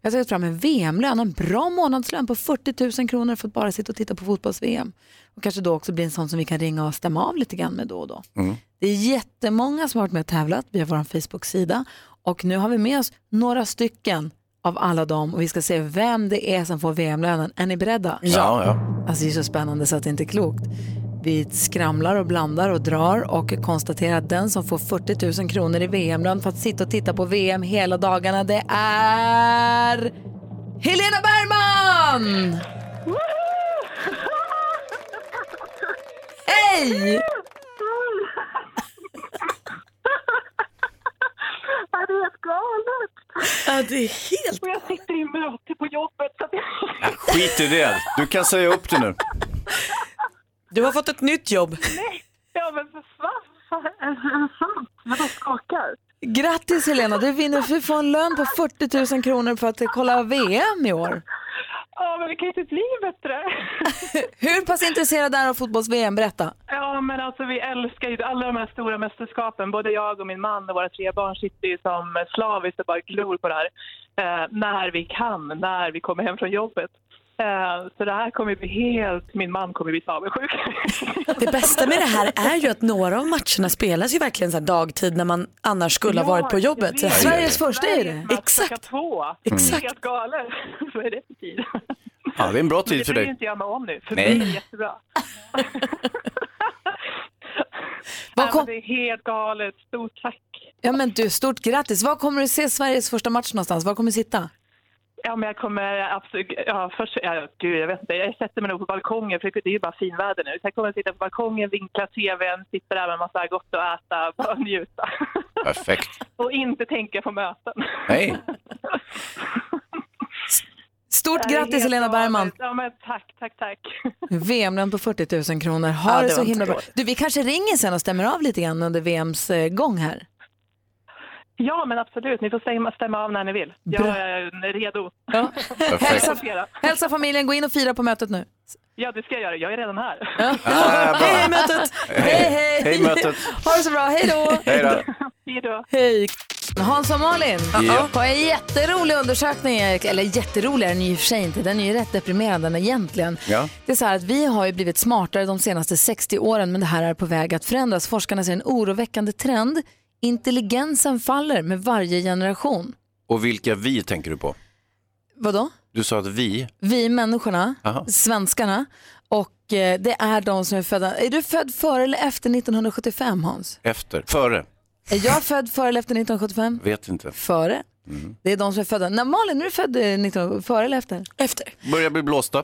[SPEAKER 2] Jag har tagit fram en VM-lön, en bra månadslön på 40 000 kronor för att bara sitta och titta på fotbolls-VM. Och kanske då också bli en sån som vi kan ringa och stämma av lite grann med då och då.
[SPEAKER 3] Mm.
[SPEAKER 2] Det är jättemånga som har varit med och tävlat via vår Facebook-sida och nu har vi med oss några stycken av alla dem och vi ska se vem det är som får VM-lönen. Är ni beredda?
[SPEAKER 23] Ja, ja.
[SPEAKER 2] Alltså det är så spännande så att det inte är klokt. Vi skramlar och blandar och drar och konstaterar att den som får 40 000 kronor i VM-lön för att sitta och titta på VM hela dagarna det är Helena Bergman! Hej!
[SPEAKER 22] Ah!
[SPEAKER 24] Ja, det är helt galet.
[SPEAKER 4] Ja, det är helt
[SPEAKER 24] Och jag sitter i möte på jobbet. Så att jag...
[SPEAKER 3] Ja, skit i det, du kan säga upp det nu.
[SPEAKER 4] Du har fått ett nytt jobb.
[SPEAKER 24] Nej, ja men för fan. fan, Är det eh, sant? Vadå skakar?
[SPEAKER 2] Grattis Helena, du vinner du får en lön på 40 000 kronor för att kolla VM i år.
[SPEAKER 24] Ja, men det kan ju inte bli bättre.
[SPEAKER 2] Hur pass intresserad är du av fotbolls-VM? Berätta.
[SPEAKER 24] Ja, men alltså vi älskar ju alla de här stora mästerskapen. Både jag och min man och våra tre barn sitter ju som slaviskt och bara glor på det här. Eh, när vi kan, när vi kommer hem från jobbet. Eh, så det här kommer bli helt... Min man kommer bli så avundsjuk.
[SPEAKER 4] *laughs* Det bästa med det här är ju att några av matcherna spelas ju verkligen så här dagtid när man annars skulle ha varit på jobbet. Så
[SPEAKER 2] Sveriges första är det.
[SPEAKER 4] Exakt.
[SPEAKER 24] Två.
[SPEAKER 4] Exakt.
[SPEAKER 24] Det är helt galet. *laughs* Vad är det för tid?
[SPEAKER 3] Ja, det är en bra
[SPEAKER 24] det
[SPEAKER 3] tid för
[SPEAKER 24] bryr
[SPEAKER 3] dig.
[SPEAKER 24] inte jag mig om nu, för
[SPEAKER 3] Nej.
[SPEAKER 24] mig är det jättebra. Nej, men det är helt galet. Stort tack.
[SPEAKER 2] Ja men du, stort grattis. Var kommer du se Sveriges första match någonstans? Var kommer du sitta?
[SPEAKER 24] Ja, men jag kommer absolut... Ja, först, ja, gud, jag vet inte. Jag sätter mig nog på balkongen, för det är ju bara finväder nu. Sen kommer jag sitta på balkongen, vinkla tvn, sitta där med en massa gott att äta, bara njuta.
[SPEAKER 3] Perfekt.
[SPEAKER 24] Och inte tänka på möten.
[SPEAKER 3] Nej.
[SPEAKER 2] Stort
[SPEAKER 24] Det här är
[SPEAKER 2] grattis
[SPEAKER 24] helt
[SPEAKER 2] Helena Bergman.
[SPEAKER 24] galet. Ja, men tack, tack, tack.
[SPEAKER 2] VM-lön på 40 000 kronor. Ha
[SPEAKER 24] Ja,
[SPEAKER 2] det,
[SPEAKER 24] det
[SPEAKER 2] så
[SPEAKER 24] var inte
[SPEAKER 2] himla bra.
[SPEAKER 24] dåligt.
[SPEAKER 2] Du, vi kanske ringer sen och stämmer av lite grann under VMs eh, gång här.
[SPEAKER 24] Ja, men absolut. Ni får stämma, stämma av när ni vill. Jag
[SPEAKER 2] Bra.
[SPEAKER 24] är redo.
[SPEAKER 2] Ja.
[SPEAKER 24] Jag
[SPEAKER 2] Hälsa-
[SPEAKER 24] accepterar.
[SPEAKER 2] Hälsa familjen, gå in och fira på mötet nu.
[SPEAKER 24] Ja, det ska jag göra. Jag är redan här.
[SPEAKER 2] Ah, bra. Hej, hej, mötet. Hej, hej. Hej, mötet. Ha det så bra, hej då.
[SPEAKER 24] Hej
[SPEAKER 3] då.
[SPEAKER 24] Hej då.
[SPEAKER 2] Hej. Hans och Malin
[SPEAKER 24] Ja.
[SPEAKER 2] har en jätterolig undersökning, eller jätterolig är den ju i och för sig inte, den är ju rätt deprimerande egentligen.
[SPEAKER 1] Ja.
[SPEAKER 2] Det är så här att vi har ju blivit smartare de senaste 60 åren men det här är på väg att förändras. Forskarna ser en oroväckande trend. Intelligensen faller med varje generation.
[SPEAKER 3] Och vilka vi tänker du på?
[SPEAKER 2] Vadå?
[SPEAKER 3] Du sa att vi,
[SPEAKER 2] Vi människorna,
[SPEAKER 3] Aha.
[SPEAKER 2] svenskarna och eh, det är de som är födda. Är du född före eller efter 1975
[SPEAKER 3] *laughs*
[SPEAKER 2] Hans?
[SPEAKER 3] efter, före,
[SPEAKER 2] Är jag född före eller efter 1975?
[SPEAKER 3] vet inte. Mm.
[SPEAKER 2] Före. Det är de som är födda. När Malin, är du född eh, 19, före eller efter? Efter.
[SPEAKER 3] Börjar bli blåsta.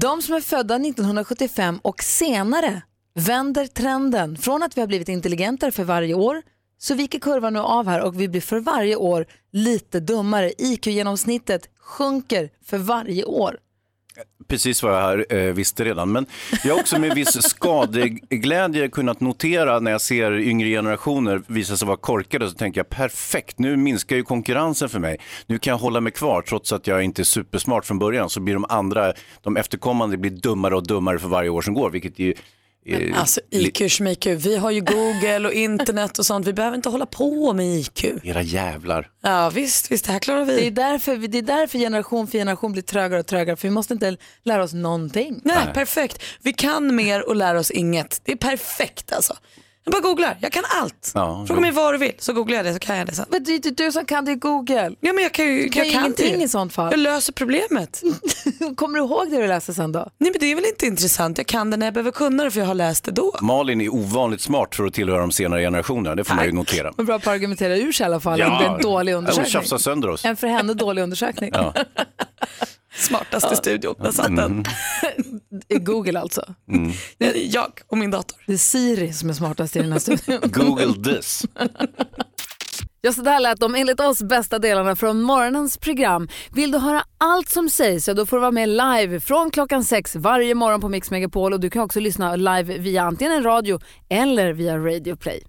[SPEAKER 2] De som är födda 1975 och senare vänder trenden. Från att vi har blivit intelligentare för varje år så viker kurvan nu av här och vi blir för varje år lite dummare. IQ-genomsnittet sjunker för varje år.
[SPEAKER 3] Precis vad jag här, eh, visste redan. Men jag har också med viss skadeglädje kunnat notera när jag ser yngre generationer visa sig vara korkade så tänker jag perfekt, nu minskar ju konkurrensen för mig. Nu kan jag hålla mig kvar trots att jag inte är supersmart från början så blir de andra, de efterkommande blir dummare och dummare för varje år som går vilket ju eh,
[SPEAKER 4] Alltså IQ, schmiq, vi har ju Google och internet och sånt. Vi behöver inte hålla på med IQ.
[SPEAKER 3] Era jävlar.
[SPEAKER 4] Ja visst, visst, det här klarar vi.
[SPEAKER 2] Det är därför, vi- det är därför generation för generation blir trögare och trögare för vi måste inte lära oss någonting.
[SPEAKER 4] Nej, perfekt. Vi kan mer och lär oss inget. Det är perfekt alltså. Jag bara googlar, jag kan allt.
[SPEAKER 3] Ja,
[SPEAKER 4] Fråga mig vad du vill så googlar jag det så kan jag det sen.
[SPEAKER 2] Men det är inte du som kan det är Google.
[SPEAKER 4] Ja, men jag kan ju
[SPEAKER 2] du kan
[SPEAKER 4] jag
[SPEAKER 2] ju
[SPEAKER 4] kan
[SPEAKER 2] ingenting
[SPEAKER 4] det.
[SPEAKER 2] i sånt fall.
[SPEAKER 4] Jag löser problemet.
[SPEAKER 2] *laughs* Kommer du ihåg det du läser sen då?
[SPEAKER 4] Nej men det är väl inte intressant. Jag kan det när jag behöver kunna det för jag har läst det då.
[SPEAKER 3] Malin är ovanligt smart för att tillhöra de senare generationerna, det får man ju notera.
[SPEAKER 2] Men bra på att argumentera ur sig i alla fall. att det är en dålig
[SPEAKER 3] Hon
[SPEAKER 2] undersökning.
[SPEAKER 3] tjafsar sönder oss.
[SPEAKER 2] En för henne dålig undersökning.
[SPEAKER 3] Ja.
[SPEAKER 25] *laughs*
[SPEAKER 4] Smartaste studion. Jag satt den.
[SPEAKER 2] I Google alltså. *laughs*
[SPEAKER 3] Mm.
[SPEAKER 4] Jag och min dator.
[SPEAKER 2] Det är Siri som är smartast i
[SPEAKER 3] *laughs*
[SPEAKER 2] den här studion.
[SPEAKER 3] Google this.
[SPEAKER 25] Ja, så där lät de enligt oss bästa delarna från morgonens program. Vill du höra allt som sägs så då får du vara med live från klockan sex varje morgon på Mix Megapol och du kan också lyssna live via antingen en radio eller via Radio Play.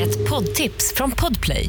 [SPEAKER 14] Ett poddtips från Podplay.